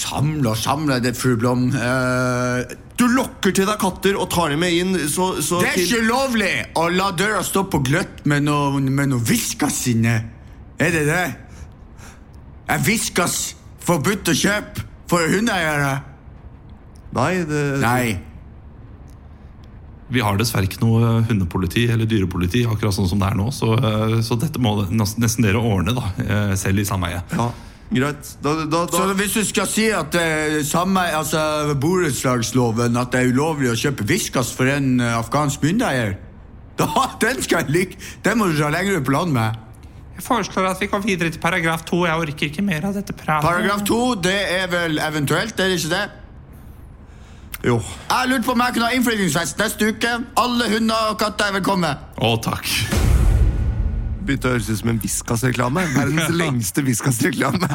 E: samle og samle, det er fuglblom. Eh,
C: du lokker til deg katter og tar dem med inn, så, så
E: Det er
C: til-
E: ikke lovlig å la døra stå på gløtt med noe, med noe viskas inne. Er det det? Er viskas forbudt å kjøpe for hundeeiere?
C: Nei, det
E: Nei.
A: Vi har dessverre ikke noe eh, hundepoliti eller dyrepoliti, akkurat sånn som det er nå. Så, eh, så dette må nesten dere ordne, da, eh, selv i sameie.
C: Ja, greit. Da, da, da.
E: Så hvis du skal si at det er samme, altså borettslagsloven, at det er ulovlig å kjøpe viskas for en eh, afghansk myndeeier, da den skal jeg like. Den må du dra lenger ut på land med.
A: Jeg foreslår at vi går videre til paragraf to. Jeg orker ikke mer av dette pratet.
E: Paragraf to, det er vel eventuelt, er det ikke det?
C: Jo.
E: Jeg lurte på om jeg kunne ha innflyttingsfest neste uke. Alle hunder og katter er velkomne.
A: Å, takk.
C: Begynte å høres ut som en Viskas-reklame. Verdens lengste Viskas-reklame.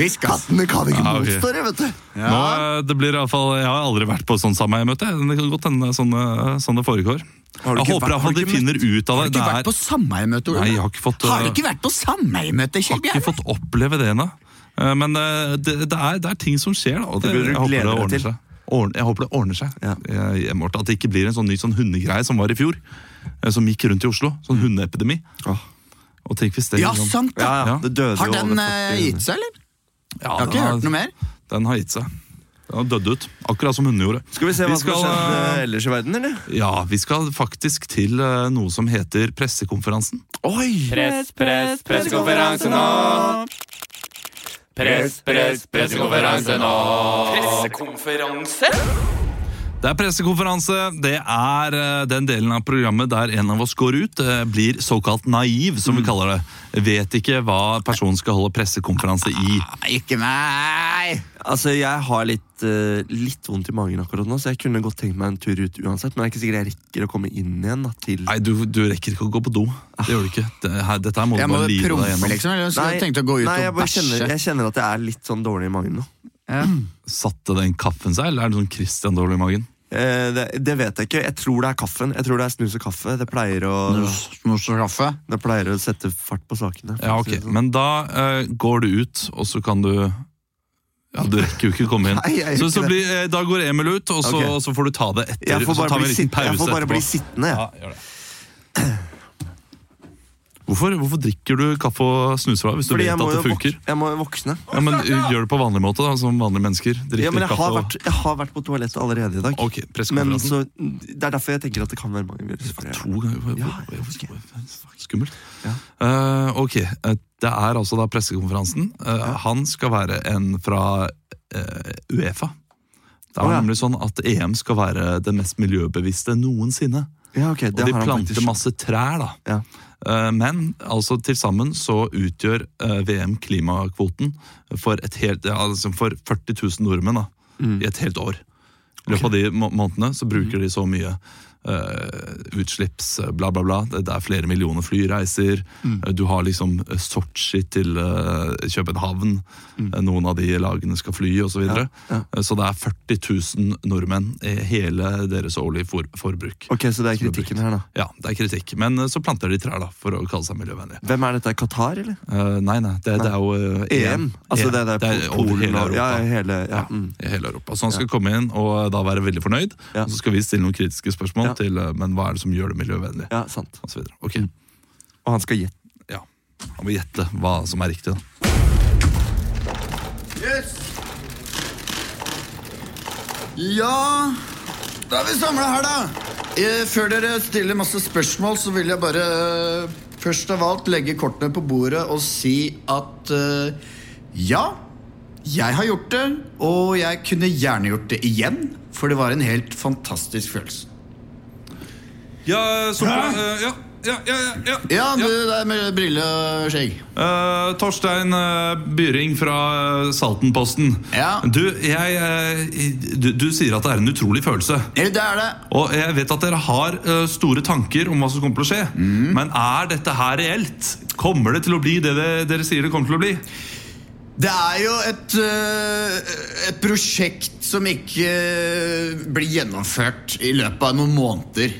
E: Viskas.
C: Kattene kan ikke
A: Ja, ok.
C: motstå det, vet du.
A: Nå, eh, det blir i alle fall, Jeg har aldri vært på sånn sameiemøte. Det kan godt hende det er sånn, eh, sånn det foregår.
C: Har du
A: Jeg håper
C: ikke vært-
A: i hvert
C: har
A: fall
C: du
A: de
C: ikke
A: finner ut av
E: Har
A: det.
E: du
A: Det
E: ikke vært
A: er,
E: på sameiemøte, Ole?
A: Nei, jeg har ikke fått,
E: Har du
A: eh,
E: ikke vært på sameiemøte,
A: har
E: Kjell
A: ikke
E: Bjørn?
A: fått oppleve det ennå. Eh, Men eh, det, det, er, det er ting som skjer, da. og
C: Det burde du
A: jeg håper
C: glede
A: det
C: deg
A: ordner
C: til.
A: seg. Ordn- Jeg håper det ordner seg
C: Ja.
A: eh, hjemme vårt. At det ikke blir en sånn ny sånn hundegreie som var i fjor. eh, Som gikk rundt i Oslo. Sånn hundeepidemi. Og tenk hvis det
E: Ja,
A: liksom-
E: sant
C: Ja,
E: da.
C: ja, det døde
E: Har
C: jo
E: den
C: over
E: eh,
C: 40
E: gitt seg, eller?
A: Ja,
E: Jeg har
A: den
E: ikke hørt noe mer.
A: Den har gitt seg. Den har dødd ut. Akkurat som hundene gjorde.
C: Skal vi se hva som
A: skal,
C: har skjedd
A: eh,
C: eh, ellers i verden, eller?
A: Ja, vi skal faktisk til eh, noe som heter pressekonferansen.
C: Oi!
D: Press, press, pressekonferanse nå! Press, press, pressekonferanse nå!
F: Pressekonferanse?
A: Det er pressekonferanse. Det er eh, den delen av programmet der en av oss går ut. eh, Blir såkalt naiv, som vi kaller det. Vet ikke hva personen skal holde pressekonferanse i.
B: Nei, Ikke meg!
C: Altså, jeg har litt, eh, litt vondt i magen akkurat nå, så jeg kunne godt tenkt meg en tur ut uansett. Men det er ikke sikkert jeg rekker å komme inn igjen da, til
A: Nei, du, du rekker ikke å gå på do. Det gjør du ikke. Det, her, dette her må du
B: Jeg må
A: bare lide deg
B: prompe,
A: gjennom.
B: liksom. Eller så
C: Nei,
B: jeg tenkte å gå ut
C: nei, jeg
B: og
C: bare
B: bæsje.
C: Kjenner, jeg kjenner at jeg er litt sånn dårlig i magen nå.
B: Ja.
A: Satte den kaffen seg, eller er det sånn Christian dårlig i magen?
C: Eh, det, det vet jeg ikke. Jeg tror det er kaffen. Jeg tror det er snus og kaffe. Det pleier å,
B: Snus og kaffe.
C: det pleier å sette fart på sakene. for
A: Ja,
C: å si
A: ok.
C: det sånn.
A: Men da eh, går du ut, og så kan du Ja, du rekker jo ikke å komme inn.
C: Nei, jeg gjør
A: Så, så
C: ikke det.
A: blir, eh, da går Emil ut, og så,
C: Ok.
A: og så får du ta det etter.
C: jeg får
A: så tar vi
C: bare,
A: en
C: bli,
A: liten
C: sitt, jeg
A: pause
C: får bare
A: etterpå.
C: bli sittende. jeg.
A: Ja, gjør det. Hvorfor, hvorfor drikker du kaffe og snuser da, hvis du
C: Fordi
A: vet
C: jeg må,
A: at
C: jo
A: det
C: vok
A: funker?
C: jeg må jo våkne.
A: Ja, men uh, Gjør det på vanlig måte, da, som vanlige mennesker. Drikk
C: Ja, men jeg
A: kaffe
C: har,
A: og-
C: vært, jeg har vært på toalettet allerede i dag.
A: Ok,
C: Men
A: pressekonferansen.
C: så, Det er derfor jeg tenker at det kan være magevirus. for jeg-
A: To ganger hvor- hvor-
C: Ja, jeg
A: hvor-
C: vet ikke.
A: hvor- Skummelt.
C: Ja.
A: Eh, ok, eh, det er altså da pressekonferansen. Eh, Han skal være en fra eh, Uefa. Det er
C: Å, ja.
A: nemlig sånn at EM skal være det mest miljøbevisste noensinne.
C: Ja, ok, det
A: Og de
C: har han
A: planter
C: faktisk-
A: masse trær, da.
C: Ja.
A: Eh, Men altså, til sammen så utgjør eh, VM klimakvoten for, et helt, ja, altså, for 40 000 nordmenn da,
C: Mm.
A: i et helt år. I løpet av de må månedene så bruker de så mye eh, utslipps, eh, bla, bla, bla. Det, det er flere millioner flyreiser.
C: Mm.
A: Eh, Du har liksom eh, Sotsji til eh, København. Eh, Noen av de lagene skal fly, osv.
C: Ja, Mm. ja.
A: Eh, Så det er 40 000 nordmenn i hele deres årlige for forbruk.
C: Ok, Så det er kritikken her, da.
A: Ja, det er kritikk. Men eh, så planter de trær, da, for å kalle seg miljøvennlige.
C: Hvem er dette? Qatar, eller?
A: Eh, nei, nei, det, det er jo eh,
C: EM? Altså, det, er der
A: det er
C: Polen
A: over hele
C: og-
A: Europa.
C: Ja, hele, ja.
A: Ja,
C: Mm.
A: i hele Europa. Så han skal komme inn og eh, da være veldig fornøyd.
C: Ja.
A: Og så skal vi stille noen kritiske spørsmål
C: Ja.
A: til eh, men hva er det som gjør det miljøvennlig.
C: ja, Mm. sant.
A: Og så videre. Ok,
C: Og han skal gjette.
A: ja. Han må gjette hva som er riktig. da.
B: Ja, da er vi samla her, da. Eh, Før dere stiller masse spørsmål, så vil jeg bare eh, først av alt legge kortene på bordet og si at eh, ja, jeg har gjort det, og jeg kunne gjerne gjort det igjen. For det var en helt fantastisk følelse.
A: Ja, Sopra. ja, ja, ja, ja.
B: Ja, du der med brille og skjegg.
A: Eh, Torstein eh, Byring fra eh, Saltenposten.
B: Ja.
A: Du, jeg, eh, du, du sier at det er en utrolig følelse.
B: Eller det er det.
A: Og jeg vet at dere har eh, store tanker om hva som kommer til å skje.
B: Mm.
A: Men er dette her reelt? Kommer det til å bli det dere, dere sier det kommer til å bli?
B: Det er jo et, øh, et prosjekt som ikke øh, blir gjennomført i løpet av noen måneder.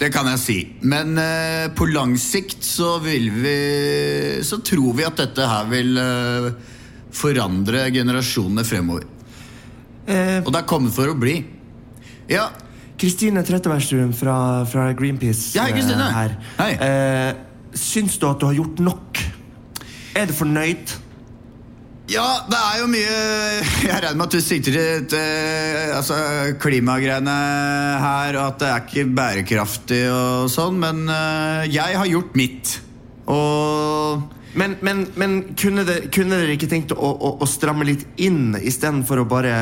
B: Det kan jeg si. Men øh, på lang sikt så vil vi Så tror vi at dette her vil øh, forandre generasjonene fremover. Og det er kommet for å bli. Ja,
G: Kristine Trettebergstuen fra, fra Greenpeace
B: Ja, hei, Kristine.
G: eh, her.
B: Hei.
G: Eh, syns du at du har gjort nok? Er du fornøyd?
B: Ja, det er jo mye Jeg regner med at du sikter til til, altså, klimagreiene her, og at det er ikke bærekraftig og sånn, men eh, jeg har gjort mitt. Og
G: Men, men, men kunne, det, kunne dere ikke tenkt å, å, å stramme litt inn istedenfor å bare,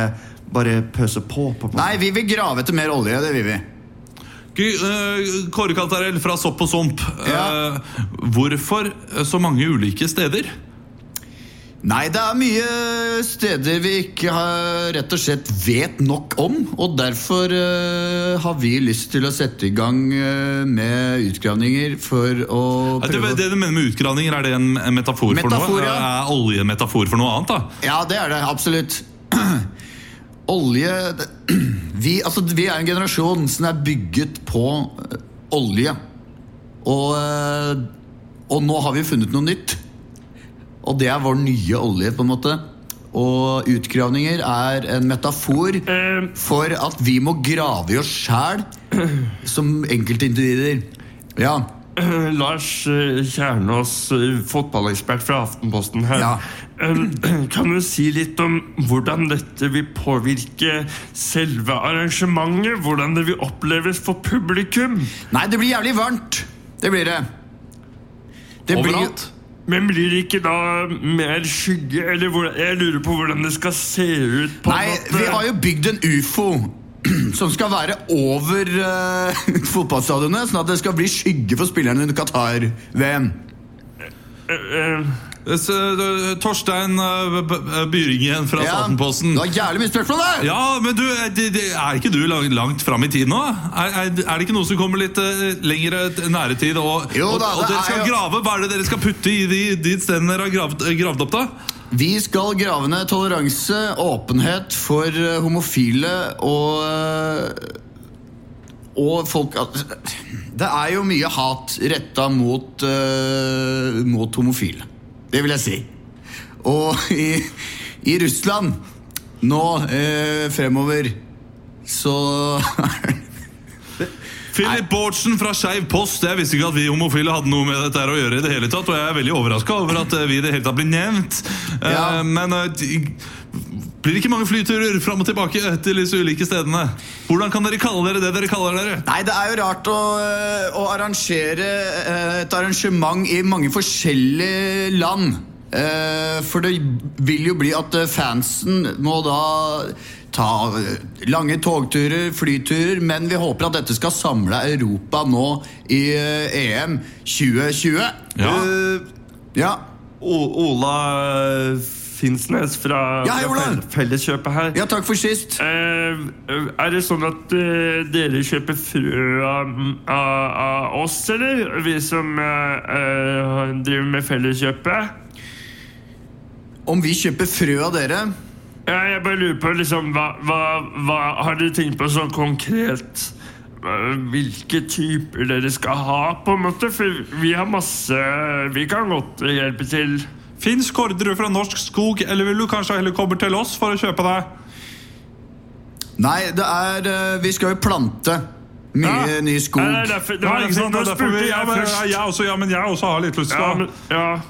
G: bare pøse på? på, på?
B: Nei, vi vil grave etter mer olje, det vil vi.
A: Gu- eh, Kåre Kantarell fra Sopp og Somp. eh,
B: Ja.
A: hvorfor eh, så mange ulike steder?
B: Nei, det er mye steder vi ikke har, rett og slett vet nok om. Og derfor eh, har vi lyst til å sette i gang eh, med utgravninger for å
A: Eh, Det,
B: prøve å-
A: det du mener med utgraninger, er det en en metafor, for
B: Metafor,
A: noe?
B: ja.
A: Er olje en metafor for noe annet, da?
B: Ja, det er det. Absolutt. Olje det, vi, altså, vi er en generasjon som er bygget på eh, olje. Og, eh, og nå har vi funnet noe nytt. Og det er vår nye olje, på en måte. Og utgravninger er en metafor for at vi må grave i oss sjæl som enkeltindivider. Ja.
G: Lars eh, Kjernås, eh, fotballekspert fra Aftenposten her. Eh,
B: Ja.
G: Kan du si litt om hvordan dette vil påvirke selve arrangementet? Hvordan det vil oppleves for publikum?
B: Nei, det blir jævlig varmt. Det blir det. det blir-
A: Overalt?
G: Men blir det ikke da mer skygge? Eller hvor, jeg lurer på eh, hvordan det skal se ut. på en
B: Nei,
G: måte.
B: vi har jo bygd en ufo. som skal være over eh, fotballstadionet, sånn at det skal bli skygge for spillerne under Qatar-VM.
G: Eh,
A: S- eh, Torstein eh, B- B- Byringen fra
B: Ja,
A: Saltenposten.
B: Det var jævlig mye spørsmål der!
A: Ja, men du, eh, det- det- er ikke du lang- langt fram i tid nå? Er, er, er det ikke noe som kommer litt eh, lengre t- nære tid? Og,
B: Jo da,
A: og, og
B: det
A: dere
B: er
A: skal
B: jo-
A: grave, hva er det dere skal putte i de, de stedene dere har gravd, eh, gravd opp, da?
B: Vi skal grave ned toleranse, åpenhet for eh, homofile og eh, Og folk al- Det er jo mye hat retta mot, eh, mot homofile. Det vil jeg si. Og i, i Russland nå eh, fremover så
A: Philip Bårdsen fra Skeiv Post. Jeg visste ikke at vi homofile hadde noe med dette her å gjøre. i det hele tatt Og jeg er veldig overraska over at eh, vi i det hele tatt blir nevnt. Eh,
B: Ja.
A: Men eh, de- blir det ikke mange flyturer fram og tilbake til disse ulike stedene? Hvordan kan dere kalle dere det dere kaller dere?
B: Nei, det er jo rart å, eh, å arrangere eh, et arrangement i mange forskjellige land. Eh, For det vil jo bli at eh, fansen må da ta eh, lange togturer, flyturer, men vi håper at dette skal samle Europa nå i eh, EM 2020.
A: Ja.
G: eh,
B: Ja.
G: O- Ola Finnsnes fra,
B: Ja, hei,
G: fra
B: Ola.
G: Fell- Felleskjøpet her.
B: ja, takk for sist.
G: Eh, er det sånn at eh, dere kjøper frø av, av, av oss, eller? Vi som eh, eh, driver med Felleskjøpet?
B: Om vi kjøper frø av dere
G: Ja, jeg bare lurer på liksom, hva, hva, hva har dere tenkt på sånn konkret? Eh, Hvilke typer dere skal ha, på en måte? For vi har masse Vi kan godt hjelpe til.
A: Fins Kordrud fra Norsk Skog, eller vil du kanskje heller komme til oss for å kjøpe deg?
B: Nei, det er eh, Vi skal jo plante mye
A: Ja.
B: ny
G: Nei, Eh, det
B: skog.
G: er derfor, det var
A: Ja, ikke
G: derfor,
A: sant, det
G: nå
A: er derfor
G: spurte
A: vi- ja,
G: jeg
A: men-
G: først.
A: ja, jeg også, ja, men jeg også har litt lyst til
G: Ja,
A: å
G: men, ja.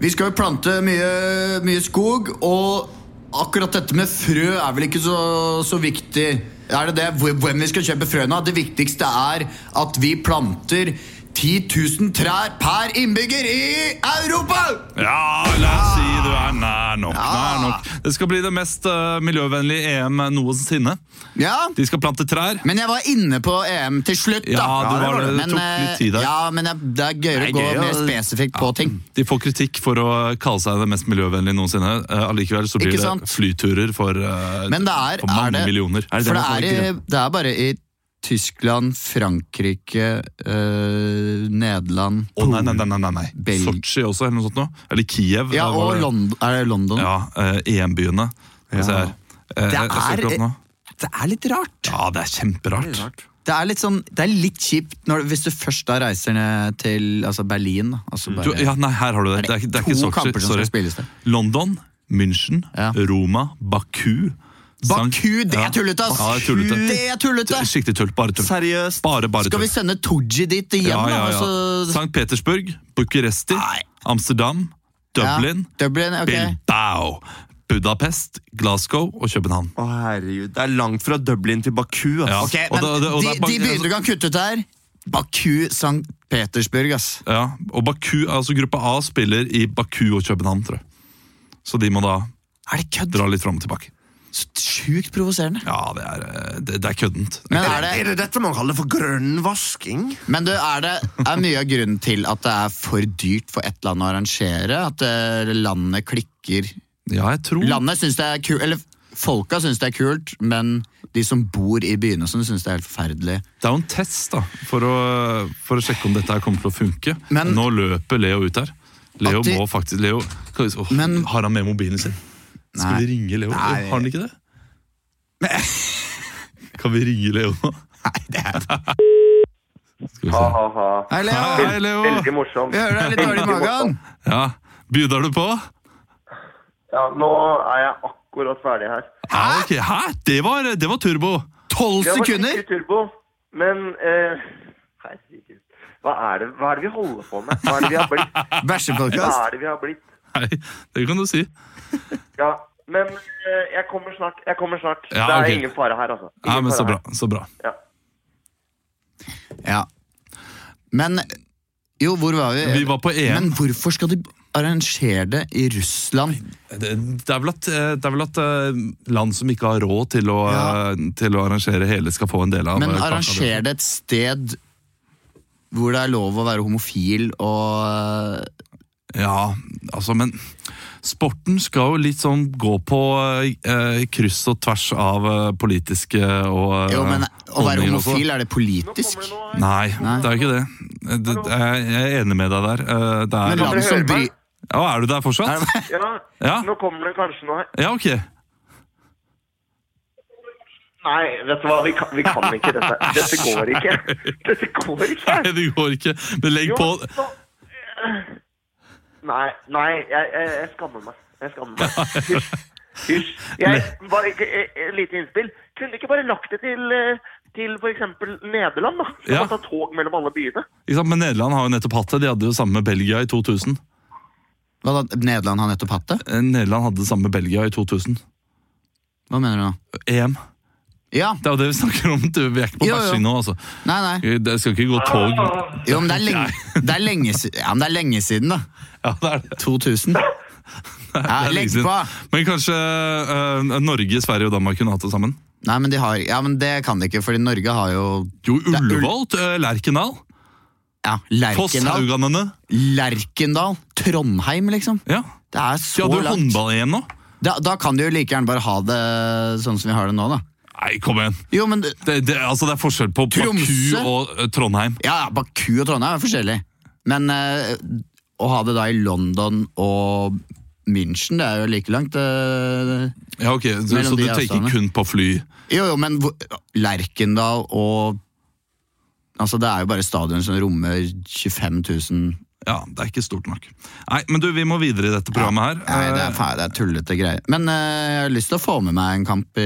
B: Vi skal jo plante mye, mye skog, og akkurat dette med frø er vel ikke så, så viktig. Er det det? Hvor- Hvem vi skal kjøpe frøene av? Det viktigste er at vi planter 10 000 trær per innbygger i Europa!
A: Ja, la oss si du er nær nok. Nær nok. Det skal bli det mest eh, miljøvennlige EM noensinne.
B: Ja,
A: De skal plante trær.
B: men jeg var inne på EM til slutt, da.
A: Ja, du var det. Det
B: men,
A: tok
B: eh,
A: litt tid der.
B: Ja, men jeg- det er gøyere å
A: Det er
B: gå
A: gøy
B: mer
A: å-
B: spesifikt på ting.
A: De får kritikk for å kalle seg det mest miljøvennlige noensinne. Eh, Allikevel så blir
B: Ikke
A: det
B: sant?
A: flyturer for, eh,
B: Men det er,
A: for mange
B: er det,
A: millioner.
B: for det er, i, det er bare i Tyskland, Frankrike, eh, Nederland
A: Å, nei, nei, nei, nei, nei, nei.
B: Bel-
A: Sotsji også, eller noe sånt noe. Eller Kiev.
B: Ja,
A: det var
B: og
A: det.
B: Lond er det London.
A: Ja, eh, EM-byene. Skal vi se her. Eh,
H: Det
A: jeg- jeg søker
H: er-
A: opp nå.
H: Det er litt rart.
A: Ja, det er kjemperart.
B: Det er litt sånn, det er litt kjipt når, hvis du først da reiser ned til altså Berlin. da, Altså bare,
A: Du, ja, nei, her har du det. Det er, ikke- det er
B: to
A: ikke Sotsji.
B: kamper som skal
A: Sorry.
B: spilles der.
A: London, München,
B: Ja.
A: Roma, Baku. Sankt-
B: Baku, det
A: Ja.
B: er tullete, ass!
A: Ja, det er tullete.
B: Det er tullete!
A: Skikkelig tull. Bare tull.
C: Seriøst.
A: Bare, bare
B: Skal
A: tull.
B: vi sende Tooji dit igjen,
A: Ja, ja, ja.
B: da? Altså,
A: Sankt Petersburg, Bucuresti, Amsterdam, Dublin,
B: Ja, Dublin, ok.
A: Bilbao, Budapest, Glasgow og København.
C: Å, herregud. Det er langt fra Dublin til Baku.
A: Ja.
C: ass.
B: Ok,
A: og
B: men
A: det- og det- og det
B: de,
A: er Bak-
B: de byene du kan kutte ut der Baku, St. Petersburg, ass.
A: Ja, og Baku, altså Gruppe A spiller i Baku og København, tror jeg. Så de må da
B: Er det kødd?
A: dra litt fram og tilbake.
B: Så Sjukt provoserende.
A: Ja, det er, eh, det, det er køddent.
B: Men er det,
C: Er det dette man kaller for grønnvasking?
B: Men du, er det er mye av grunnen til at det er for dyrt for ett land å arrangere? At eh, landet klikker
A: Ja, jeg tror
B: Landet syns det er kult, eller folka syns det er kult, men de som bor i byene og sånn, syns det er helt forferdelig.
A: Det er jo en test da, for å, for å sjekke om dette her kommer til å funke.
B: Men-
A: Nå løper Leo ut her. Leo
B: At de-
A: må faktisk Leo, skal vi, åh,
B: Men-
A: Har han med mobilen sin? Skal vi ringe Leo?
B: Nei.
A: Har han ikke det? kan vi ringe Leo nå? Nei, det er Skal vi se.
D: Ha-ha.
B: Hei, Leo!
A: Hei, Leo!
D: Veldig morsomt.
B: Vi hører deg litt dårlig i magen.
A: Ja, Bjuder du på?
D: Ja, nå er jeg akkurat ferdig her.
A: Ja, ok. Hæ? Det var, det var turbo.
B: Tolv
D: Det var
B: sekunder!
D: skikkelig turbo, men eh, herregud. Hva er, det, hva er det vi holder på med? Hva er det vi har blitt? Hva
B: Bæsjepodkast.
D: er det vi har blitt?
A: Nei, det kan du si.
D: Ja, men eh, jeg kommer snart. Jeg kommer snart.
A: Ja,
D: det er
A: ok.
D: ingen fare her, altså. Ingen
A: Ja, men så
D: fare
A: bra.
D: her.
A: Så bra.
D: Ja.
B: Ja. Men jo, hvor var vi?
A: Vi var på E. EM.
B: Men hvorfor skal de arrangerer det i Russland?
A: Det, det er vel at, eh, det er vel at eh, land som ikke har råd til å, eh, til å arrangere hele, skal få en del av
B: Men
A: eh, kaka.
B: arrangerer det et sted hvor det er lov å være homofil eh, og
A: Ja, altså, men sporten skal jo litt sånn gå på eh, kryss og tvers av eh, politiske og eh,
B: Jo, men å
A: holdninger
B: være
A: sånn. også.
B: homofil, er det
I: Nå kommer
B: politisk?
I: det noe her.
A: Nei, det er jo ikke det. Eh, det. det- Jeg er enig med deg der. Eh, Det
B: Men
A: er,
B: land som
D: høre
B: bry...
D: meg?
A: ja, er du der fortsatt?
D: Ja,
A: Ja,
D: nå kommer det kanskje noe her.
A: ja ok.
D: Nei, vet du hva, vi kan, vi kan ikke dette. Dette går ikke. Dette går ikke.
A: Nei, det går ikke. Men legg
D: Jo,
A: på
D: så- Nei, nei, jeg, jeg, jeg skammer meg. Jeg skammer meg. Hysj. Hysj. Jeg, bare, ikke- eh, eh, lite innspill. Kunne du ikke bare lagt det til, eh, til for eksempel Nederland, da? Som
A: Ja.
D: kan ta tog mellom alle byene.
A: ikke sant? Men Nederland har jo nettopp hatt det. De hadde jo det samme med Belgia i 2000.
B: Hva da, Nederland har nettopp hatt det?
A: Eh, Nederland hadde det samme med Belgia i 2000.
B: Hva mener du nå?
A: EM.
B: Ja,
A: Det er jo det vi snakker om. Du, vi er ikke på
B: Jo, jo.
A: bæsjing nå, altså.
B: nei, nei.
A: Det skal ikke gå tog.
D: Ah.
B: Jo, men det er lenge, det er lenge, si- ja, men det er lenge siden, da.
A: Ja, det er det.
B: 2000. Ja,
A: Det er
B: legg
A: lenge
B: på!
A: siden. Men kanskje eh, Norge, Sverige og Danmark kunne hatt det sammen?
B: Nei, men, de har, ja, men det kan de ikke, fordi Norge har jo
A: Jo,
B: er Ul-
A: Ullevål, eh, Lerkendal,
B: ja,
A: Foss,
B: Lerkendal.
A: Hauganene.
B: Lerkendal, Trondheim, liksom.
A: Ja.
B: Det er
A: De
B: så
A: hadde jo
B: langt.
A: håndball-EM nå.
B: Da, da kan de jo like gjerne bare ha det sånn som vi har det nå, da.
A: Nei, kom igjen.
B: Jo, men det-
A: Det, det, altså, det er forskjell på
B: Tromsø?
A: Baku og eh, Trondheim.
B: Ja, ja, Baku og Trondheim er forskjellig. Men eh, å ha det da i London og München, det er jo like langt. eh.
A: Ja, ok, Så,
B: Mellom
A: så du
B: de
A: tenker
B: avstandene.
A: kun på fly?
B: jo, jo, men hvor- Lerkendal og Altså, det er jo bare stadion som rommer 25 000
A: Ja, det er ikke stort nok. Nei, men du, vi må videre i dette programmet her.
B: Nei, det
A: Eh,
B: er, faen, det er tullete greier. Men eh, jeg har lyst til å få med meg en kamp i,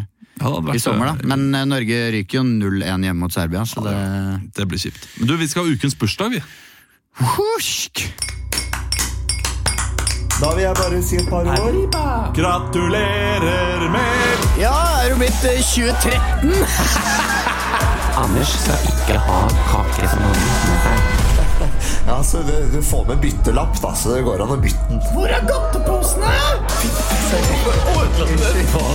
A: ja, det hadde vært,
B: i sommer, da. Men eh, Norge ryker jo 0-1 hjemme mot Serbia, så det
A: Det blir kjipt. Men du, vi skal ha ukens bursdag, vi.
B: Husk!
J: Da vil jeg bare si et par år.
A: Gratulerer med
B: Ja, er du blitt 23?
K: Anders skal ikke ha kake som han med seg.
E: Ja, så du, du får med byttelapp, da, så det går an å bytte den. Hvor er godteposene?
K: Faen,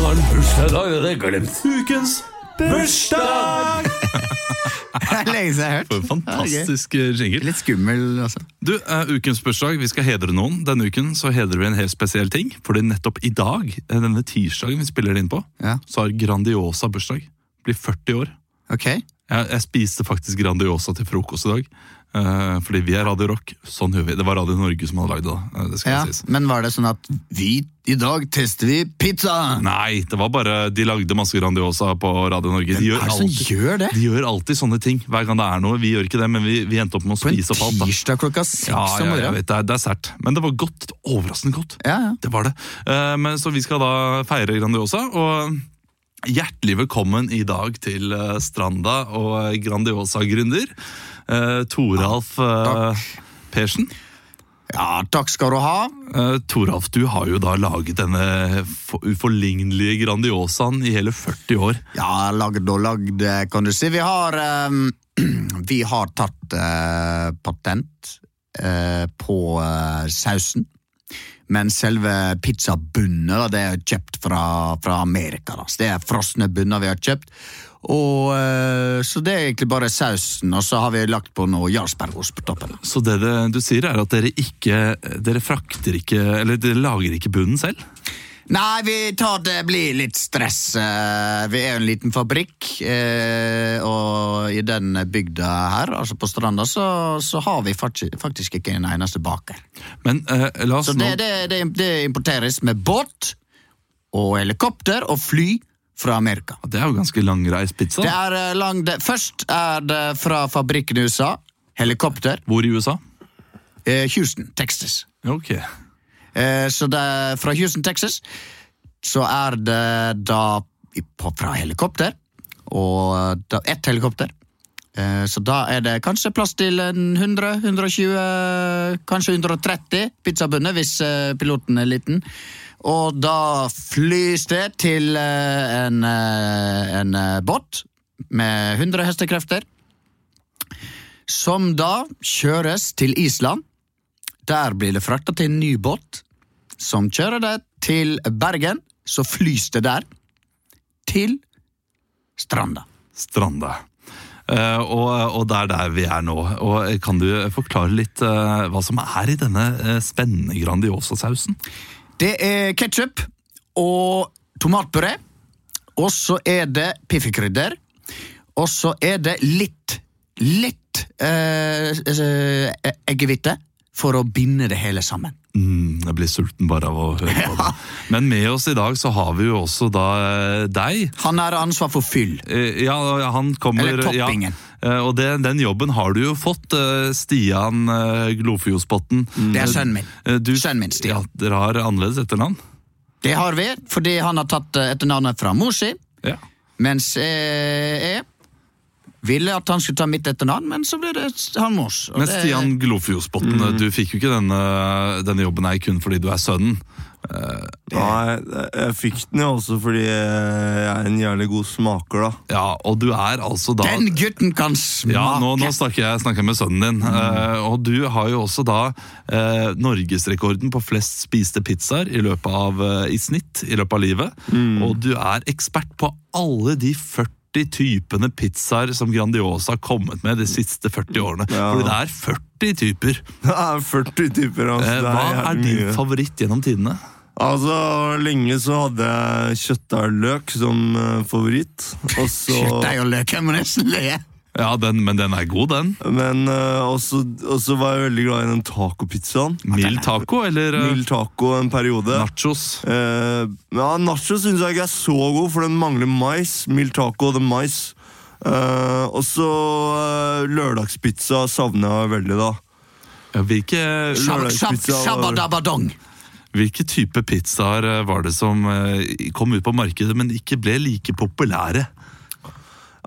K: har han bursdag i dag? Det hadde jeg glemt.
A: ukens bursdag!
B: Det er lenge siden jeg har hørt.
A: For en
B: Ja, det er gøy.
A: fantastisk eh, jingle.
B: Litt skummel, altså.
A: Du, eh, ukens bursdag, vi skal hedre noen. Denne uken så hedrer vi en helt spesiell ting. Fordi nettopp i dag, eh, denne tirsdagen vi spiller det inn på,
B: Ja.
A: så har Grandiosa bursdag. Blir 40 år.
B: Ok.
A: Jeg, jeg spiste faktisk Grandiosa til frokost i dag. eh, fordi vi er Radio Rock. Sånn gjør vi. Det var Radio Norge som hadde lagd det. da, eh, det skal
B: Ja,
A: sies.
B: men var det sånn at vi, i dag tester vi pizza?
A: Nei, det var bare de lagde masse Grandiosa på Radio Norge. De
B: Hva
A: gjør,
B: er det som
A: alltid,
B: gjør det?
A: de gjør alltid sånne ting hver gang det er noe. Vi gjør ikke det, men vi, vi endte opp med å
B: På en
A: spise opp alt. da.
B: tirsdag klokka seks
A: Ja,
B: om
A: ja, jeg
B: morgenen?
A: vet, det er, det er sært. Men det var godt. Overraskende godt.
B: Ja, ja.
A: Det var det. Eh, Men, så vi skal da feire Grandiosa, og hjertelig velkommen i dag til eh, Stranda og Grandiosa-gründer, eh, Toralf eh, Persen.
B: ja, takk skal du ha.
A: Eh, Toralf, du har jo da laget denne for- uforlignelige Grandiosaen i hele 40 år.
B: Ja, lagd og lagd, eh, kan du si. Vi har, ehm, vi har tatt eh, patent eh, på eh, sausen. Men selve pizzabunnet da, det er kjøpt fra, fra Amerika. Da. Så det er frosne bunner vi har kjøpt. Og, eh, så det er egentlig bare sausen, og så har vi lagt på noe jarlsbergost på toppen.
A: Så det, det du sier er at dere ikke Dere frakter ikke Eller dere lager ikke bunnen selv?
B: Nei, vi tar det blir litt stress. Eh, Vi er jo en liten fabrikk, eh, og i den bygda her, altså på Stranda, så, så har vi fakti- faktisk ikke en eneste baker.
A: Men eh, la oss
B: Så det, det, det, det importeres med båt og helikopter og fly fra Amerika.
A: nå Det er jo ganske langreist pizza.
B: Det er eh, lang, det, først er det fra fabrikken i USA, helikopter,
A: Hvor i USA?
B: eh, Houston, Texas.
A: Ok.
B: Eh, Så det, fra Houston, Texas, så er det da i- på, fra helikopter, og da, ett helikopter. Eh, Så da er det kanskje plass til en 100, 120, kanskje 130 pizzabunner hvis eh, piloten er liten. Og da flys det til eh, en, eh, en eh, båt med 100 hestekrefter, som da kjøres til Island Der blir det frakta til en ny båt, som kjører det til Bergen. Så flys det der til stranda.
A: Stranda. Eh, og, og det er der vi er nå. Og eh, Kan du forklare litt eh, hva som er i denne eh, spennende Grandiosa-sausen?
B: Det er ketsjup og tomatpuré. Og så er det piffikrydder. Og så er det litt, litt eh, eh, eggehvite for å binde det hele sammen.
A: Mm, jeg blir sulten bare av å høre på det. Men med oss i dag så har vi jo også da eh, deg.
B: Han har ansvar for fyll.
A: Eh, Ja, han kommer
B: Eller toppingen.
A: Ja. Eh, Og det, den jobben har du jo fått, eh, Stian eh, Glofjosbotn.
B: Det er sønnen min.
A: Eh, du-
B: Sønnen min, Stian.
A: Ja, dere har annerledes etternavn?
B: Det har vi, fordi han har tatt eh, etternavnet fra mor si.
A: Ja.
B: Mens eh, jeg ville at han skulle ta mitt etternavn, men så ble det han mors. og
A: Men
B: det-
A: Stian Glofjosbotn,
B: Mm.
A: eh, du fikk jo ikke denne, denne jobben her kun fordi du er sønnen.
E: Nei, jeg fikk den jo også fordi jeg er en jævlig god smaker, da.
A: Ja, og du er altså da
B: Den gutten kan smake!
A: ja, nå, nå snakker jeg snakker jeg med sønnen din.
E: Mm.
A: Eh, og du har jo også da eh, norgesrekorden på flest spiste pizzaer i, løpet av, eh, i snitt i løpet av livet.
E: Mm.
A: Og du er ekspert på alle de 40 typene pizzaer som Grandiosa har kommet med de siste 40 årene. Fordi det er 40 typer.
E: Det er 40 typer. Altså,
A: Eh,
E: det
A: hva er
E: jævlig
A: din
E: mye.
A: favoritt gjennom tidene?
E: Altså, Lenge så hadde jeg kjøttdeigløk som eh, favoritt. Og så
B: Kjøttdeig og løk, jeg må nesten le.
A: Ja, den, men den er god, den.
E: Men eh, også, også var jeg veldig glad i den tacopizzaen.
A: Mild taco eller eh,
E: Mild taco en periode.
A: nachos?
E: Eh, ja, Nacho syns jeg ikke er så god, for den mangler mais. Mild taco og det mais. Eh, og så eh, lørdagspizza savner jeg veldig, da.
A: Ja, Hvilke,
B: Shab- shab-
E: Lørdagspizza var-
B: Shabadabadong.
A: hvilke type pizzaer eh, var det som eh, kom ut på markedet, men ikke ble like populære?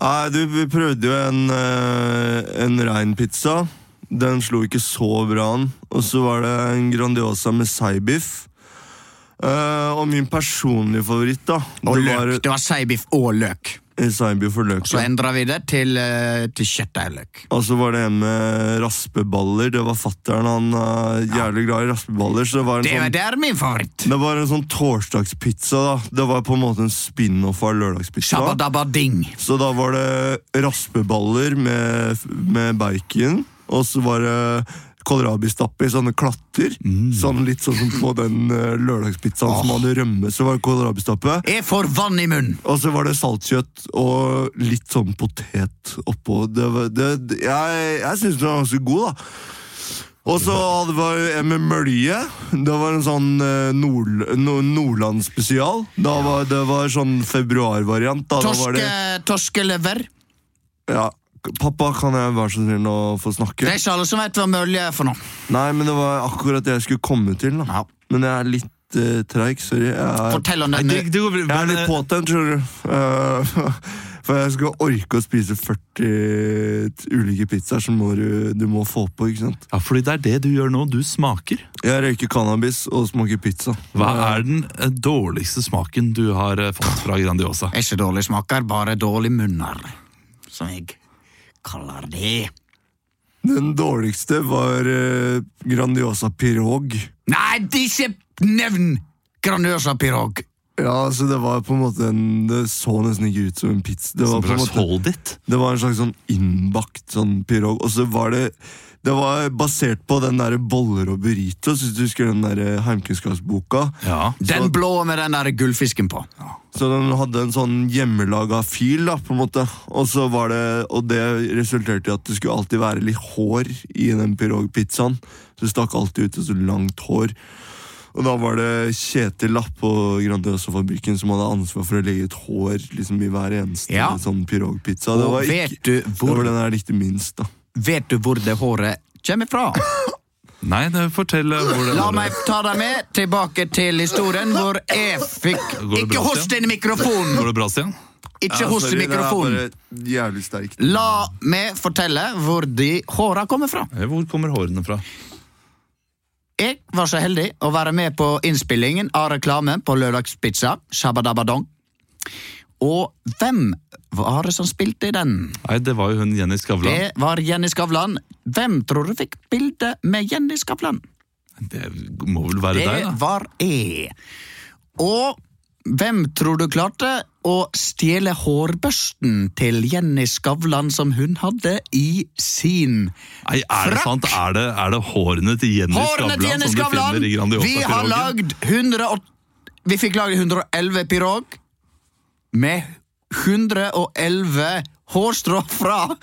E: Nei, du, vi prøvde jo en, eh, en rein pizza. Den slo ikke så bra an. Og så var det en Grandiosa med seibiff. Eh, og min personlige favoritt, da.
B: Og
E: det
B: løk. Det
E: var
B: var seibiff og løk.
E: en seibiff og løk.
B: Så
E: ja.
B: endra vi det til, eh, til kjøttdeig og løk.
E: Og så var det en med raspeballer. Det var fattern. Han er jævlig glad i raspeballer. Så det var en
B: Det,
E: sånn
B: det er min favoritt.
E: det var en sånn torsdagspizza. da Det var på en måte en spin-off av lørdagspizza.
B: Shabadabading.
E: Så da var det raspeballer med, med bacon, og så var det kålrabistappe i sånne klatter.
B: Mm.
E: Sånn Litt sånn som på den eh, lørdagspizzaen som hadde rømme, så var det kålrabistappe.
B: Jeg får vann i munnen.
E: Og så var det saltkjøtt og litt sånn potet oppå. Det var, det, det- jeg jeg syns den var ganske god, da. Og så hadde vi en med mølje. Det var en sånn eh, nord, no- Nordland-spesial. Da var, det var sånn februarvariant. da. Da
B: Torske,
E: var det
B: torskelever. eh.
E: ja, pappa, kan jeg være så snill å få
B: Det
E: snakke?
B: er ikke alle som vet hva mølje er for noe.
E: Nei, men det var akkurat det jeg skulle komme til. da.
B: Ja.
E: Men jeg er litt uh, treig, sorry. Jeg er,
B: Fortell om den
A: Det, det,
E: jeg er
A: men,
E: litt påtent, skjønner du. Eh, for jeg skal orke å spise 40 t- ulike pizzaer, så må du, du må få på, ikke sant?
A: ja, fordi det er det du gjør nå. Du smaker.
E: Jeg røyker cannabis og smaker pizza.
A: Hva er den eh, dårligste smaken du har eh, fått fra Grandiosa?
B: er ikke dårlig smaker, bare dårlig munner. Som jeg kaller det.
E: Den dårligste var eh, Grandiosa pirog.
B: Nei, det er ikke nevn Grandiosa pirog.
E: Ja, så det var på en måte en Det så nesten ikke ut som en pizza. Det var
A: Som
E: på en
A: slags
E: måte
A: hold it?
E: Det var en slags sånn innbakt sånn pirog. Og så var det Det var basert på den derre boller og burritos, hvis du husker den derre heimkunnskapsboka.
A: Ja.
B: Den blå med den der gullfisken på.
E: Så den hadde en sånn hjemmelaga fil, da, på en måte. Og så var det Og det resulterte i at det skulle alltid være litt hår i den pirogpizzaen. Så det stakk alltid ut et så langt hår. Og da var det Kjetil Lapp på Grandiosa-fabrikken som hadde ansvar for å legge et hår liksom, i hver eneste
B: Ja.
E: sånn pirogpizza. Det
B: Og
E: var,
B: vet
E: ikke,
B: du,
E: det var
B: hvor,
E: den jeg likte minst, da.
B: vet du hvor det håret kommer fra?
A: Nei, det- fortell eh, hvor det
B: La
A: var.
B: meg ta deg med tilbake til historien hvor jeg fikk
A: det
B: Ikke
A: bra,
B: host inn i mikrofonen!
A: eh, Går det bra, Stian?
B: Ikke host i
E: sorry, det er
B: mikrofonen.
E: bare Jævlig sterkt.
B: La meg fortelle hvor de håra kommer fra.
A: Eh, Hvor kommer hårene fra?
B: Jeg var så heldig å være med på innspillingen av reklamen på Lørdagspizza. Shabadabadong. Og hvem var det som spilte i den?
A: Nei, det var jo hun Jenny Skavlan.
B: Det var Jenny Skavlan. Hvem tror du fikk bilde med Jenny Skavlan?
A: Det må vel være deg,
B: Det
A: da.
B: var E. Og hvem tror du klarte å stjele hårbørsten til Jenny Skavlan som hun hadde i sin
A: Nei, er det
B: Frakk!
A: sant? Er det, er det hårene til Jenny
B: Hårene til
A: Skavlan som
B: Jenny
A: du
B: Skavlan!
A: finner i Grandiosa?
B: Vi har
A: pirogen?
B: lagd 108 Vi fikk lagd 111 pirog med 111 hårstrå fra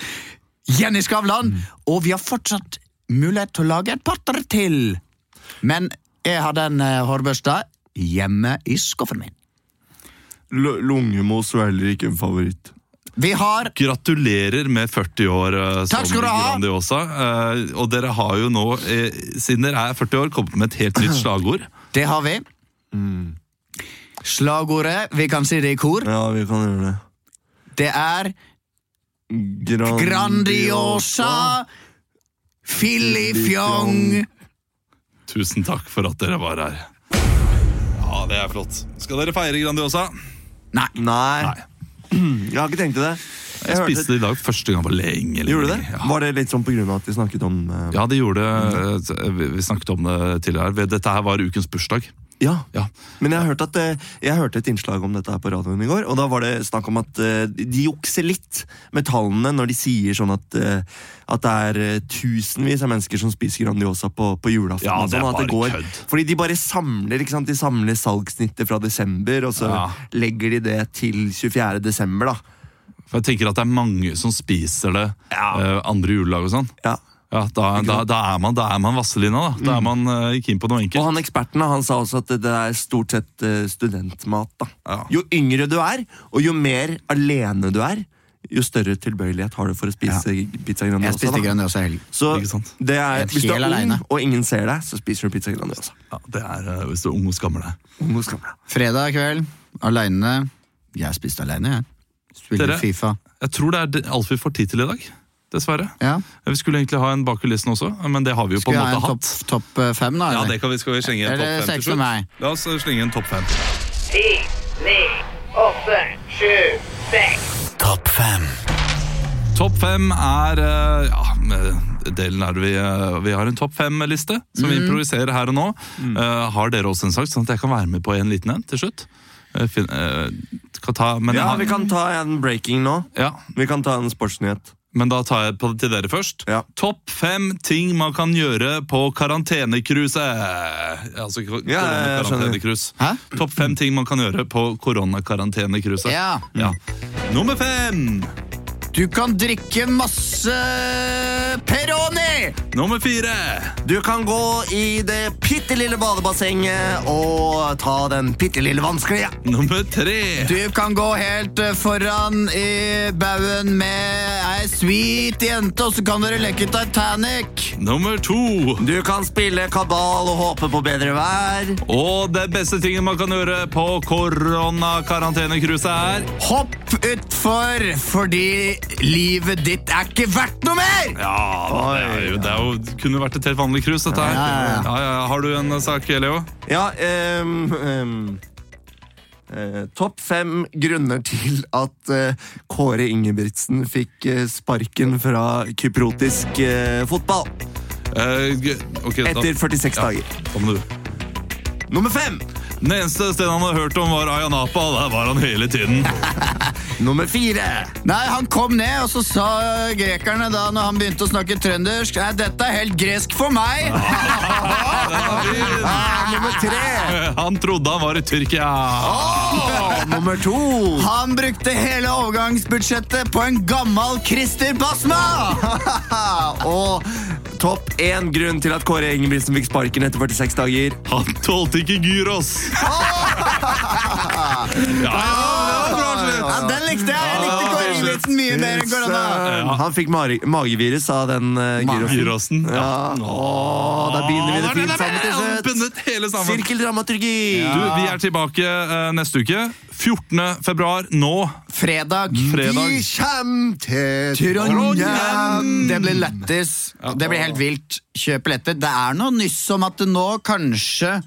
B: Jenny Skavlan,
A: Mm.
B: og vi har fortsatt mulighet til å lage et par til. Men jeg har den eh, hårbørsta hjemme i skuffen min.
E: L lungemos var heller ikke en favoritt.
B: Vi har
A: Gratulerer med 40 år eh, som
B: Takk skal du ha!
A: Grandiosa. Eh, og dere har jo nå, eh, siden dere er 40 år, kommet med et helt nytt slagord.
B: Det har vi.
A: Mm.
B: Slagordet, vi kan si det i kor,
E: Ja, vi kan gjøre det.
B: det er
E: Grandiosa.
B: Grandiosa Filifjong.
A: Tusen takk for at dere var her. Ja, det er flott. Skal dere feire Grandiosa?
E: Nei. Jeg har ikke tenkt til det. Jeg,
A: Jeg
E: hørte-
A: spiste det i dag første gang på lenge. lenge.
E: Gjorde du det?
A: Ja.
E: Var det litt sånn på grunn av at vi snakket om eh,
A: Ja, det gjorde eh, Vi vi snakket om det tidligere her. Dette her var ukens bursdag.
E: ja.
A: Ja.
E: Men jeg, har hørt at, eh, jeg hørte et innslag om dette her på radioen i går, og da var det snakk om at eh, de jukser litt med tallene når de sier sånn at, eh, at det er eh, tusenvis av mennesker som spiser Grandiosa på, på julaften.
A: Ja,
E: og
A: det er
E: sånn, og at det
A: bare
E: går-
A: kødd.
E: Fordi de bare samler ikke sant? De samler salgssnittet fra desember, og så
A: Ja.
E: legger de det til 24. desember. da.
A: For jeg tenker at det er mange som spiser det eh, andre juledag og sånn.
E: Ja.
A: Ja, da, da, da er man, da er man Vasselina, da. Da er man eh, ikke inn på noe
E: Og
A: enkelt.
E: han eksperten han sa også at det er stort sett eh, studentmat. da.
A: Ja.
E: Jo yngre du er, og jo mer alene du er, jo større tilbøyelighet har du for å spise pizza
B: Jeg
E: grandiosa.
B: spiste
E: da.
B: Grandiosa i helgen.
E: Så
A: Ikke sant?
E: det er,
B: Helt
E: hvis du er ung
B: alene.
E: og ingen ser deg, så spiser du pizza grandiosa.
A: Ja, det er eh, hvis du er ung og skammer deg.
E: Ung og skamla.
B: Fredag kveld, aleine. Jeg spiste aleine, jeg. Spiller
A: Dere?
B: Fifa.
A: Jeg tror det er det- alt vi får tid til i dag. Dessverre.
B: Ja.
A: Vi skulle egentlig ha en bak kulissene også, men det har vi jo på
B: Skal vi
A: en
B: ha
A: måte
B: en
A: hatt.
B: topp topp, eh, fem, da?
A: Ja,
B: eller?
A: det kan vi skal vi slenge en
B: Eller
A: topp fem til
B: seks med meg.
A: slutt. La oss eh, slenge en topp fem.
L: Ti, ni, åtte, sju, seks.
A: Topp fem er eh, ja, med delen er det vi, eh, vi har en topp fem-liste som vi improviserer her og nå. Eh, har dere også en sak, sånn at jeg kan være med på en liten en til slutt? Eh, fin, eh, kan ta, men, jeg
E: Ja,
A: har-
E: vi kan ta en breaking nå.
A: ja,
E: Vi kan ta en sportsnyhet.
A: men da tar jeg på, til dere først.
E: Ja.
A: Topp fem ting man kan gjøre på karantenekruset. Altså kor-
E: Ja, ja, jeg skjønner.
A: koronakarantenekrus.
B: Hæ?
A: Topp fem ting man kan gjøre på koronakarantenekruset.
B: Ja.
A: Ja. Nummer fem!
B: Du kan drikke masse Peroni!
A: Nummer fire!
E: Du kan gå i det bitte lille badebassenget og ta den bitte lille vanskelige.
A: Nummer tre!
B: Du kan gå helt eh, foran i baugen med ei sweet jente, og så kan dere leke Titanic.
A: Nummer to!
E: Du kan spille kabal og håpe på bedre vær.
A: Og det beste tingen man kan gjøre på koronakarantenekruset er
B: Hopp utfor, fordi livet ditt er ikke verdt noe mer!
A: Ja, det, er jo, det er jo, kunne vært et helt vanlig krus, dette her.
B: Ja, ja, ja.
A: Har du en sak, Leo?
E: Ja, ehm, ehm, eh, Topp fem grunner til at eh, Kåre Ingebrigtsen fikk eh, sparken fra kyprotisk eh, fotball
A: Eh, g- ok, da-
E: etter 46
A: Ja.
E: dager.
A: Kom du.
E: Nummer fem!
A: Den eneste stedet han hadde hørt om, var Ayanapa. og Der var han hele tiden.
E: Nummer fire!
B: Nei, han kom ned, og så sa grekerne da når han begynte å snakke trøndersk Nei, dette er helt gresk for meg!
E: Ah, nummer tre!
A: Han trodde han var i Tyrkia.
E: Ah, nummer to!
B: Han brukte hele overgangsbudsjettet på en gammel Christer Basma!
E: Og topp én grunn til at Kåre Ingebrigtsen fikk sparken etter 46 dager.
A: Han tålte ikke gyros. Ja, ja, det var bra slutt.
B: Ja, den likte jeg! Jeg likte Kåre Ingebrigtsen mye mer enn korona.
E: Søren, Eh, Han fikk mari- magevirus av den uh, gyrosen.
A: Gyrosen. Ja.
E: Ja. Åh, da begynner vi det fint sammen til
A: Han
E: slutt.
A: bundet hele sammen.
E: Sirkeldramaturgi!
A: Du, vi er tilbake eh, neste uke. 14. februar, nå.
E: eh,
B: Fredag.
A: Fredag.
E: Vi kjem til
B: Trondheim! Det blir lættis. Det blir helt vilt. Kjøp billetter. Det er noe nyss om at det nå kanskje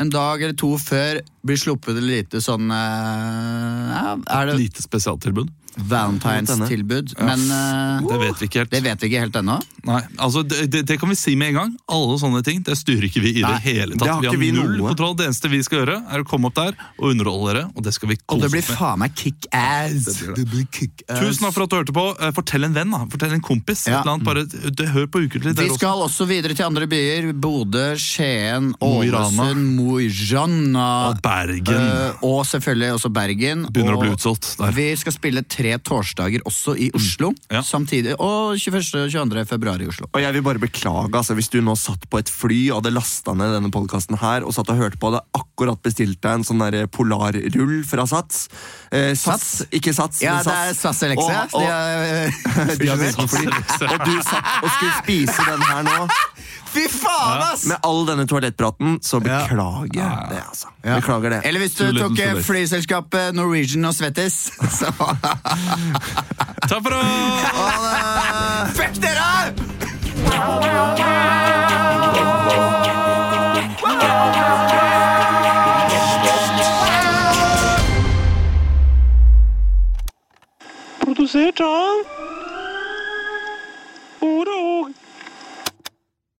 B: en dag eller to før blir sluppet et lite sånn eh, ja, Er det
A: Lite spesialtilbud.
B: Valentine's-tilbud. Men eh,
A: Det vet vi ikke helt.
B: det vet vi ikke helt ennå.
A: Nei, altså det, det, det kan vi si med en gang. Alle sånne ting det styrer ikke vi i det hele
E: det
A: tatt.
E: har
A: Vi
E: ikke
A: har
E: vi
A: null
E: noe.
A: kontroll. Det eneste vi skal gjøre, er å komme opp der og underholde dere. Og det skal vi
B: Og
A: kose
B: det blir
A: oss med.
B: faen meg kickass! Det blir kickass.
A: Tusen takk for at du hørte på. Eh, Fortell en venn, da. Fortell en kompis. Et
B: Ja. Mm.
A: eller annet. Bare, du, hør på Ukentlig.
B: Vi
A: dere også.
B: skal også videre til andre byer. Bodø, Skien,
A: Mo i Rana.
B: Ålesund, Mo i Rana.
A: Og Bergen.
B: Eh, og selvfølgelig også Bergen.
A: Begynner å
B: Og
A: bli utsolgt der. Mm.
B: Vi skal spille tre torsdager også i Oslo.
A: Ja.
B: Samtidig. Og 21. og 22. februar i Oslo.
E: Og jeg vil bare beklage, altså, hvis du nå satt på et fly og hadde lasta ned denne podkasten her, og satt og hørte på, hadde akkurat bestilt deg en sånn der polarrull fra Sats. Eh, sats?
B: Sats?
E: Ikke Sats,
B: Ja,
E: men
B: det
E: Sats.
B: er SAS Elexia.
E: Og- og-
B: De er-
E: De har bestilt
A: Sats.
E: fly. Og du satt og skulle spise den her nå.
B: Fy faen, ass!
E: Med all denne toalettpraten, så beklager jeg det, altså. Beklager det.
B: Eller hvis du
A: Too little,
B: tok
A: too
B: eh,
A: late.
B: flyselskapet Norwegian og Svettis, så
A: Takk for oss!
B: Fuck dere!